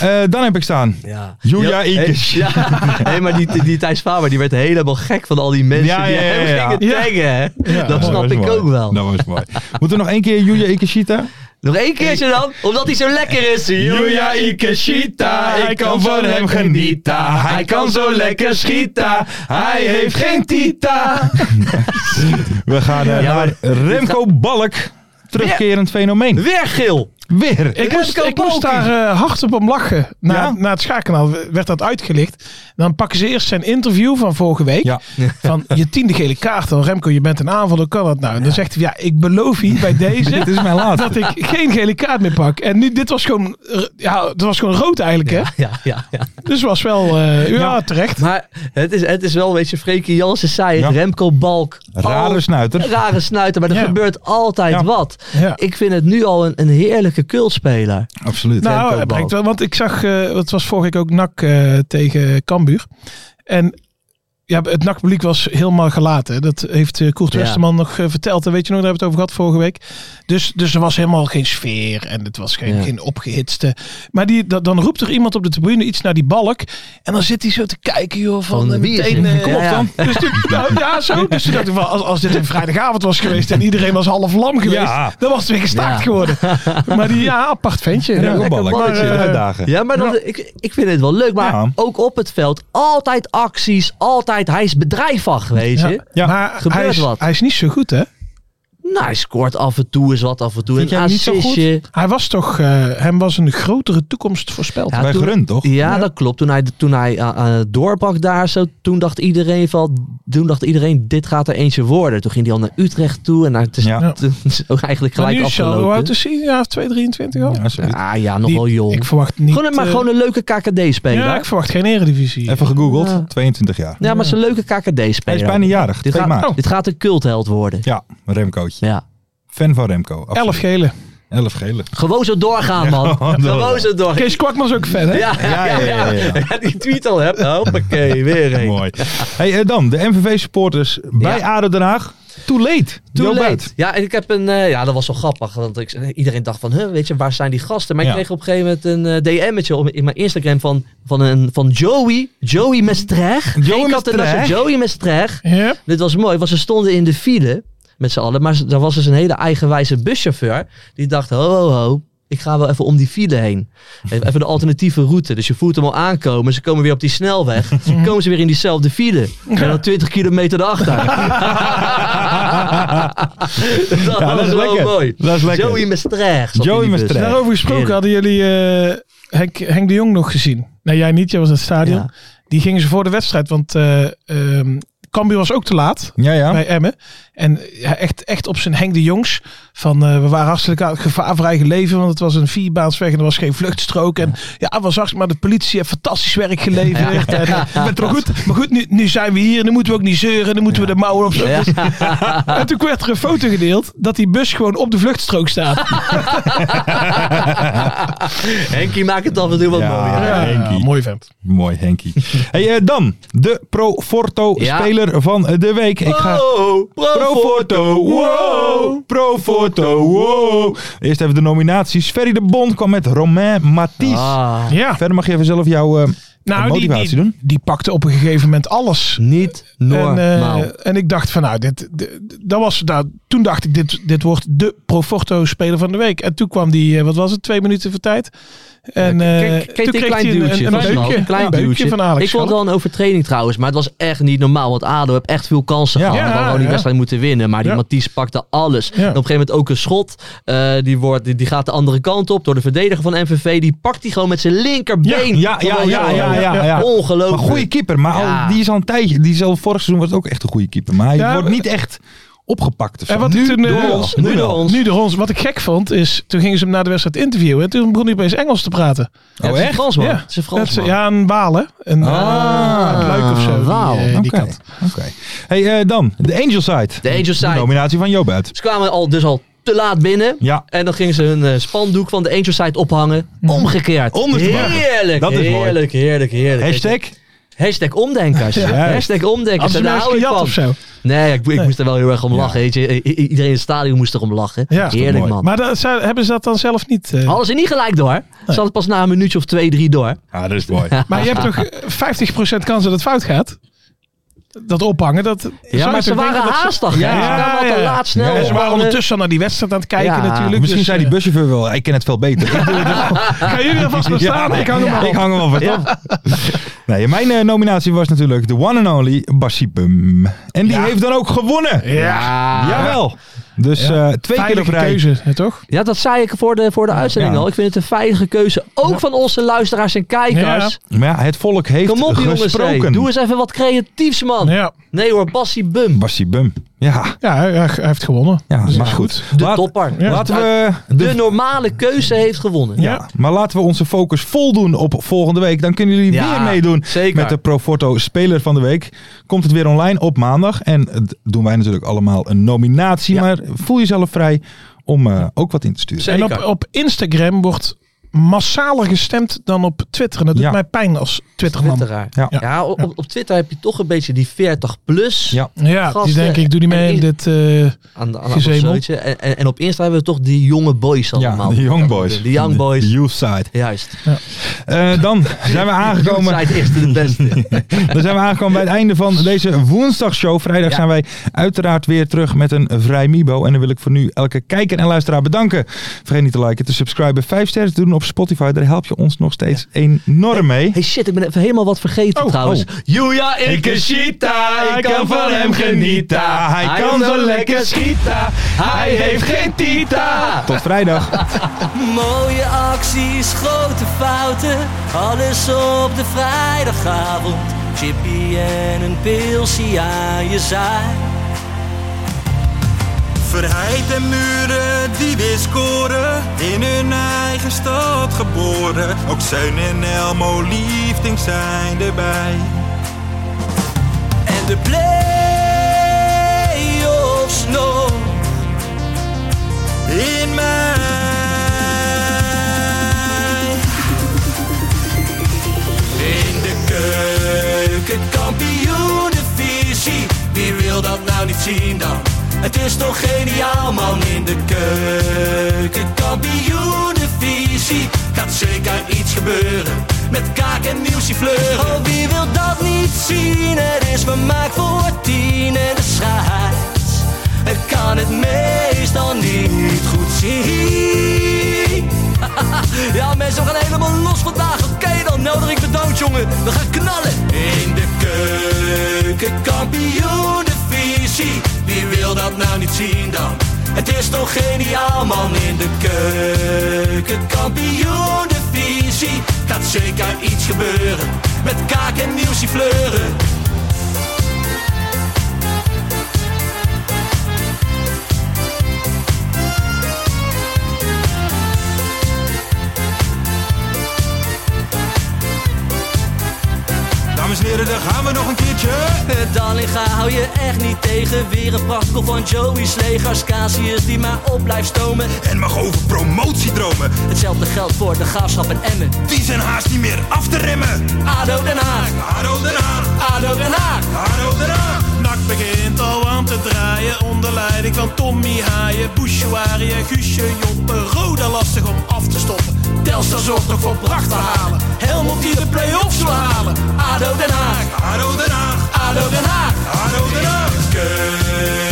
H: Eh, dan heb ik staan.
I: Ja. [LAUGHS]
H: Julia
I: Ja,
H: Ikes.
I: hey, ja. Hey, maar die, die Thijs Faber die werd helemaal gek van al die mensen
H: Ja,
I: die
H: ja, ja,
I: hem
H: ja.
I: gingen taggen. hè. dat snap
H: was
I: ik
H: mooi. Nou.
I: ook wel.
H: Dat was mooi. Moeten we nog één keer Julia Ikeshita?
I: Nog één keertje dan, omdat hij zo lekker is.
H: Julia Ikeshita, ik kan van hem genieten. Hij kan zo lekker schieten. Hij heeft geen tita. [LAUGHS] We gaan eh,
I: Ja,
H: naar
I: maar-
H: Remco Balk. Terugkerend fenomeen.
I: Weer geel.
H: Weer.
J: Ik moest,
I: Remco
J: ik moest
I: Balkan.
J: daar eh, hard op hem lachen. Na,
H: Ja?
J: na het schaakkanaal werd dat uitgelicht. Dan pakken ze eerst zijn interview van vorige week.
H: Ja.
J: [LAUGHS] Van je tiende gele kaart. Dan Remco, je bent een aanvaller. Kan dat nou? En dan zegt hij, ja, ik beloof hier
H: [LAUGHS]
J: bij deze...
H: Dit is mijn
J: dat
H: laatste.
J: ik geen gele kaart meer pak. En nu, dit was gewoon, eh, ja, het was gewoon rood eigenlijk, hè?
I: Ja, ja, ja.
J: Dus was wel, eh, ja, terecht.
I: Maar het is, het is wel, weet je, Freekie Jansen zei het,
H: Ja.
I: Remco Balk.
H: Rare
I: Al-
H: snuiter.
I: Rare snuiter, maar er
J: Oh. Ja.
I: gebeurt altijd
H: Ja.
I: wat.
J: Ja.
I: Ik vind het nu al een, een heerlijke kultspeler.
H: Absoluut.
J: nou,
I: Remco
J: het blijkt
I: Balk.
J: wel, want ik zag, eh het was vorige week ook NAC eh, tegen Cambuur. En ja, het NAC-publiek was helemaal gelaten. hè. Dat heeft eh, Koert
I: Ja.
J: Westerman nog eh, verteld. En weet je nog, daar hebben we het over gehad vorige week. Dus, dus er was helemaal geen sfeer en het was geen,
I: Ja.
J: geen opgehitste. Maar die, dat, dan roept er iemand op de tribune iets naar die balk. En dan zit hij zo te kijken, joh, van,
I: Van
J: eh,
I: wie is
J: meteen,
I: het?
J: eh,
I: Kom op
J: ja.
I: dan.
J: Dus toen, nou, ja, zo. Dus toen dacht ik, van, als, als dit een vrijdagavond was geweest en iedereen was half lam geweest,
H: Ja.
J: dan was het weer gestaakt
I: Ja.
J: geworden. Maar die, ja, apart ventje. Ja,
H: Remco
J: lekker
H: Balk.
J: maar, eh,
H: Uitdagen.
I: Ja, maar dat, ik, ik vind het wel leuk. Maar
H: Ja.
I: ook op het veld, altijd acties, altijd. Hij is bedrijfig, weet je.
J: ja, maar
I: Gebeurt
J: hij is,
I: wat.
J: hij is niet zo goed, hè?
I: Nou, hij scoort af en toe eens wat, af en toe
H: Vind
I: een
H: jij hem niet zo goed?
I: assistje.
J: Hij was toch, eh, hem was een grotere toekomst voorspeld.
I: Ja,
H: Bij
I: toen-
H: Grun, toch?
I: Ja, dat klopt. Toen hij, toen hij eh, eh, doorbrak daar zo, toen dacht iedereen van, toen dacht iedereen, dit gaat er eentje worden. Toen ging hij al naar Utrecht toe en daar, het is,
H: Ja.
I: [LAUGHS] het is ook eigenlijk
J: Maar
I: gelijk
J: nu is hij al- hoe oud
I: afgelopen.
J: is hij? Ja, 223 al?
H: Ja, absoluut.
I: Ah ja, nog
J: Die-
I: wel jong.
J: Ik verwacht niet...
I: gewoon, een- maar
J: eh,
I: gewoon een leuke KKD-speler.
J: Ja,
I: Ja,
J: ik verwacht geen eredivisie.
H: Even gegoogeld,
I: Ja.
H: 22 jaar.
I: maar ze een leuke KKD-speler.
H: Hij is bijna jarig,
I: dit,
H: 2
I: gaat,
H: maart.
J: Oh.
I: dit gaat een cultheld worden.
H: Ja, een Remcootje.
I: Ja.
H: Fan van Remco. absoluut.
J: Elf
I: [LAUGHS]
J: gele.
H: Elf gele.
I: Gewoon zo doorgaan, man.
H: gewoon doorgaan.
I: Gewoon zo doorgaan.
J: Kees Kwakman is ook fan, hè?
I: Ja,
H: Ja, ja, ja, ja.
I: [LAUGHS] Ja, die tweet al heb. Hoppakee, weer een.
H: Mooi. Hey, eh, dan, de MVV-supporters bij
I: Ja.
H: ADO Den Haag. Too late.
I: Too
H: Joop
I: late.
H: Buit.
I: Ja, en ik heb een. eh, ja, dat was wel grappig. Want ik, iedereen dacht van, huh, weet je, waar zijn die gasten? Maar ik
H: Ja.
I: kreeg op een gegeven moment een eh, DM'tje op, in mijn Instagram van, van, een, van Joey. Joey Mestrecht. Geen
H: Joey
I: kattenlasser,
H: Mestrecht.
I: Joey Mestrecht.
J: Ja.
I: Dit was mooi, want ze stonden in de file met z'n allen. Maar ze- daar was dus een hele eigenwijze buschauffeur. Die dacht, ho, ho, ho. Ik ga wel even om die file heen. Even een alternatieve route. Dus je voert hem al aankomen. Ze komen weer op die
H: [LAUGHS]
I: snelweg. Dan komen ze weer in diezelfde file. En dan 20 kilometer
H: [LAUGHS]
I: erachter. [LAUGHS] dat
H: Ja, dat
I: was
H: is
I: wel
H: lekker.
I: mooi.
H: Dat is lekker.
I: Joey Maastricht. zat
H: Joey
I: in die bus.
H: Maastricht.
J: Daarover gesproken hadden jullie eh, Henk, Henk de Jong nog gezien. Nee, jij niet. Jij was in het stadion.
I: Ja.
J: Die gingen ze voor de wedstrijd. Want eh ehm, Cambuur was ook te laat.
H: Ja, ja.
J: bij Emmen. En ja, echt, echt op zijn Henk de Jongs. Van eh, we waren hartstikke aan het gevaar voor eigen leven. Want het was een vierbaansweg en er was geen vluchtstrook. En ja, het was hartstikke, maar de politie heeft fantastisch werk geleverd. En, eh, het werd wel goed. Maar goed, nu, nu zijn we hier en dan moeten we ook niet zeuren. Dan moeten we de mouwen op.
I: Ja.
J: En toen werd er een foto gedeeld dat die bus gewoon op de vluchtstrook staat.
I: Henkie maakt het af en toe wat
H: Ja.
I: mooier.
J: Ja,
H: Henkie.
J: mooi vent.
H: Mooi, Henkie. hey, eh, dan de Pro Forto
I: Ja.
H: speler van eh, de week. Ik ga...
I: Wow,
H: Pro Forto, wow! Pro Forto, wow! Eerst even de nominaties. Ferry de Bond kwam met Romain Matisse.
I: Ah,
J: Ja.
H: Verder mag je even zelf jouw eh,
J: Nou, die,
H: motivatie
J: die,
H: doen.
J: die pakte op een gegeven moment alles.
I: niet
J: En, eh,
I: normaal.
J: en ik dacht van nou, dit, dit- dat was, nou, toen dacht ik dit, dit wordt de Proforto speler van de week. En toen kwam die, eh, wat was het, twee minuten voor tijd. En
I: Ja,
J: eh,
I: kreeg- kreeg
J: toen
I: hij
J: kreeg
I: een klein
J: hij
I: duwtje.
J: een,
I: van Snap.
J: beukje,
I: Een klein
J: een beukje
I: duwtje.
J: van Alex.
I: ik vond het wel een overtreding trouwens, maar het was echt niet normaal. Want ADO heeft echt veel kansen
H: Ja.
I: gehad.
J: Ja,
I: Ja, gewoon die
J: ja.
I: wedstrijd moeten winnen. Maar die
J: Ja.
I: Matisse pakte alles. En op een gegeven moment ook een schot. eh, die, wordt, die, die gaat de andere kant op door de verdediger van MVV. Die pakt die gewoon met zijn linkerbeen.
H: Ja, ja,
I: Gewoon
H: ja,
I: zo.
H: ja, ja, ja.
I: Ongelooflijk.
H: Maar goede keeper. Maar al-
I: Ja.
H: die is al een tijdje. Die is al vorig seizoen was het ook echt een goede keeper. Maar hij
J: Ja,
H: wordt
J: maar-
H: niet echt opgepakt. Of zo.
J: En wat
H: nu
J: ik toen, eh,
H: door ons. Nu door ons.
J: Nu door ons. Wat ik gek vond is, toen gingen ze hem na de wedstrijd interviewen. En toen begon hij opeens Engels te praten.
I: Ja, het is een Fransman.
J: Ja.
I: Het is een
J: Dat ze-
I: Fransman.
J: ja, een Walen. Een, eh,
H: Ah,
J: uit Luik of zo. die,
I: Waal.
J: eh, die
H: Oké.
J: kant.
H: Oké. Hey, eh, dan, de Angel Side.
I: De Angel Side.
H: nominatie van Job uit.
I: Ze kwamen al, dus al te laat binnen.
H: Ja,
I: En dan gingen ze hun eh, spandoek van de Angel Side ophangen.
J: Mm.
I: Omgekeerd.
H: Ondersteboven.
I: Heerlijk,
H: Dat is mooi.
I: heerlijk, heerlijk, heerlijk.
H: hashtag.
I: Hashtag
J: [LAUGHS]
I: omdenkers.
H: Juist.
I: Hashtag omdenkers.
J: Hadden ze nou
I: En daar
J: eens
I: hou ik
J: gejat
I: van.
J: of zo.
I: Nee, ik, ik moest er wel heel erg om
H: Ja.
I: lachen. Weet je. I- i- Iedereen in het stadion moest erom lachen.
J: Ja, is toch
I: Heerlijk,
H: mooi.
I: man.
J: Maar dat, zou- hebben ze dat dan zelf niet? eh?
I: Alles er niet gelijk door. Ze hadden pas na een minuutje of twee, drie door.
H: Ah, dat is mooi.
J: Maar je hebt toch
H: [LAUGHS]
J: eh, 50% kans dat het fout gaat? Dat ophangen, dat... zou je
I: Ja, maar
J: toch
I: ze
J: denken
I: waren
J: dat
I: haastig.
J: Ja,
I: hè. ze kwamen al
J: ja,
I: te
J: ja.
I: laat snel.
J: En ze waren
I: Eh,
J: ondertussen al naar die wedstrijd aan het kijken
I: Ja.
J: natuurlijk.
H: Misschien
J: dus,
H: zei die
J: eh,
H: buschauffeur wel, hij kent het veel beter. Ik doe het wel. [LAUGHS]
J: Gaan jullie er vast nog staan? Ik hang hem
H: Ja,
J: al.
H: Ik hang hem al wat op. Nee, mijn eh, nominatie was natuurlijk de one and only Basipum. En die heeft dan ook gewonnen.
J: Ja.
H: Jawel. Dus eh, twee keer op
J: Veilige
H: rij.
J: keuze, hè, toch?
I: Ja, dat zei ik voor de, voor de uitzending
H: Ja.
I: al. Ik vind het een veilige keuze. Ook van onze luisteraars en kijkers.
H: Maar ja, het volk heeft
I: Kom op jongens.
H: gesproken.
I: hey. Doe eens even wat creatiefs man.
J: Ja,
I: Nee hoor, Bassie Bum.
H: Bassie Bum. Ja,
J: ja hij, hij heeft gewonnen.
H: ja
J: Dus
H: maar
J: is
H: goed.
I: De
H: Laat-
I: topper.
J: Ja.
H: Laten we...
I: De, normale keuze heeft gewonnen.
H: eh, ja. maar laten we onze focus vol doen op volgende week. Dan kunnen jullie
I: Ja,
H: weer meedoen
I: zeker.
H: met de Proforto Speler van de Week. Komt het weer online op maandag. En eh, doen wij natuurlijk allemaal een nominatie. Maar voel jezelf vrij om eh, ook wat in te sturen.
J: En
I: Zeker.
J: op, op Instagram wordt massaler gestemd dan op Twitter. En dat doet
H: Ja.
J: mij pijn als Twitterman.
I: Twitteraar.
H: Ja.
I: Ja, op, op- op Twitter heb je toch een beetje die 40 plus
H: Ja.
J: Ja, die
I: Gasten.
J: denk ik, doe die mee
I: En
J: in
I: in-
J: dit... eh,
I: aan de aan de
J: Gezemel.
I: opzootje. En, en, en op Insta hebben we toch die jonge boys allemaal.
H: Ja, de Young Boys.
I: De Young Boys.
H: De youth side.
I: Juist.
H: Eh, dan
I: [LAUGHS]
H: zijn we aangekomen.
I: Zij het eerste de beste.
H: [LAUGHS] Dan zijn we aangekomen bij het einde van deze woensdagshow. Vrijdag
I: Ja.
H: zijn wij uiteraard weer terug met een vrij Mibo. En dan wil ik voor nu elke kijker en luisteraar bedanken. Vergeet niet te liken, te subscriben, 5 sterren te doen op Spotify. Daar help je ons nog steeds enorm mee.
I: hey shit, ik ben even helemaal wat vergeten
H: Oh,
I: trouwens.
H: oh.
I: Julia
H: Ikeshita, ik kan van hem genieten. Hij kan zo lekker
I: schieten. Hij heeft geen tita.
H: Tot vrijdag.
F: Mooie acties, grote fouten, alles op de vrijdagavond. Chippy en een pilsie aan je zaai.
G: Verheid en muren die weer scoren, in hun eigen stad geboren. Ook Zijn en Elmo liefding zijn erbij.
F: En de play-offs nog
G: In mij.
F: in de keuken, kampioenenvisie. Wie wil dat nou niet zien dan? Het is toch geniaal man in de keuken, kampioenenvisie. Gaat zeker iets gebeuren met kaak en nieuwsie fleuren. Oh, wie wil dat niet zien? Het is vermaakt voor tien en de scheids. Ik kan het meestal niet goed zien.
I: ja, mensen, we gaan helemaal los vandaag. Oké, dan nodig ik de dood, jongen. We gaan knallen. In de keuken, kampioen, de visie. Wie wil dat nou niet zien dan? Het is toch geniaal, man. In de keuken, kampioen, de visie. Gaat zeker iets gebeuren. Met kaak en nieuwsie fleuren.
H: Dames en heren, daar gaan we nog een keertje.
I: Eh, Dallinga hou je echt niet tegen. Weer een prachtkel van Joey's legers. Casius die maar op blijft stomen.
H: En mag over promotiedromen.
I: Hetzelfde geldt voor de gaafschap en Emmen.
H: Die zijn haast niet meer af te remmen.
I: ADO Den Haag,
H: Haro Den Haag,
I: ADO Den Haag.
H: Haro Den Haag.
K: Nak begint al aan te draaien onder leiding van Tommy Haaien, Bouchouari en Guusje Joppen. Roda lastig om af te stoppen.
I: Telstar zorgt nog voor pracht te halen. Helmond die de play-offs wil halen. ADO Den Haag,
H: Haro Den Haag,
I: ADO Den Haag.
H: Haro Den Haag.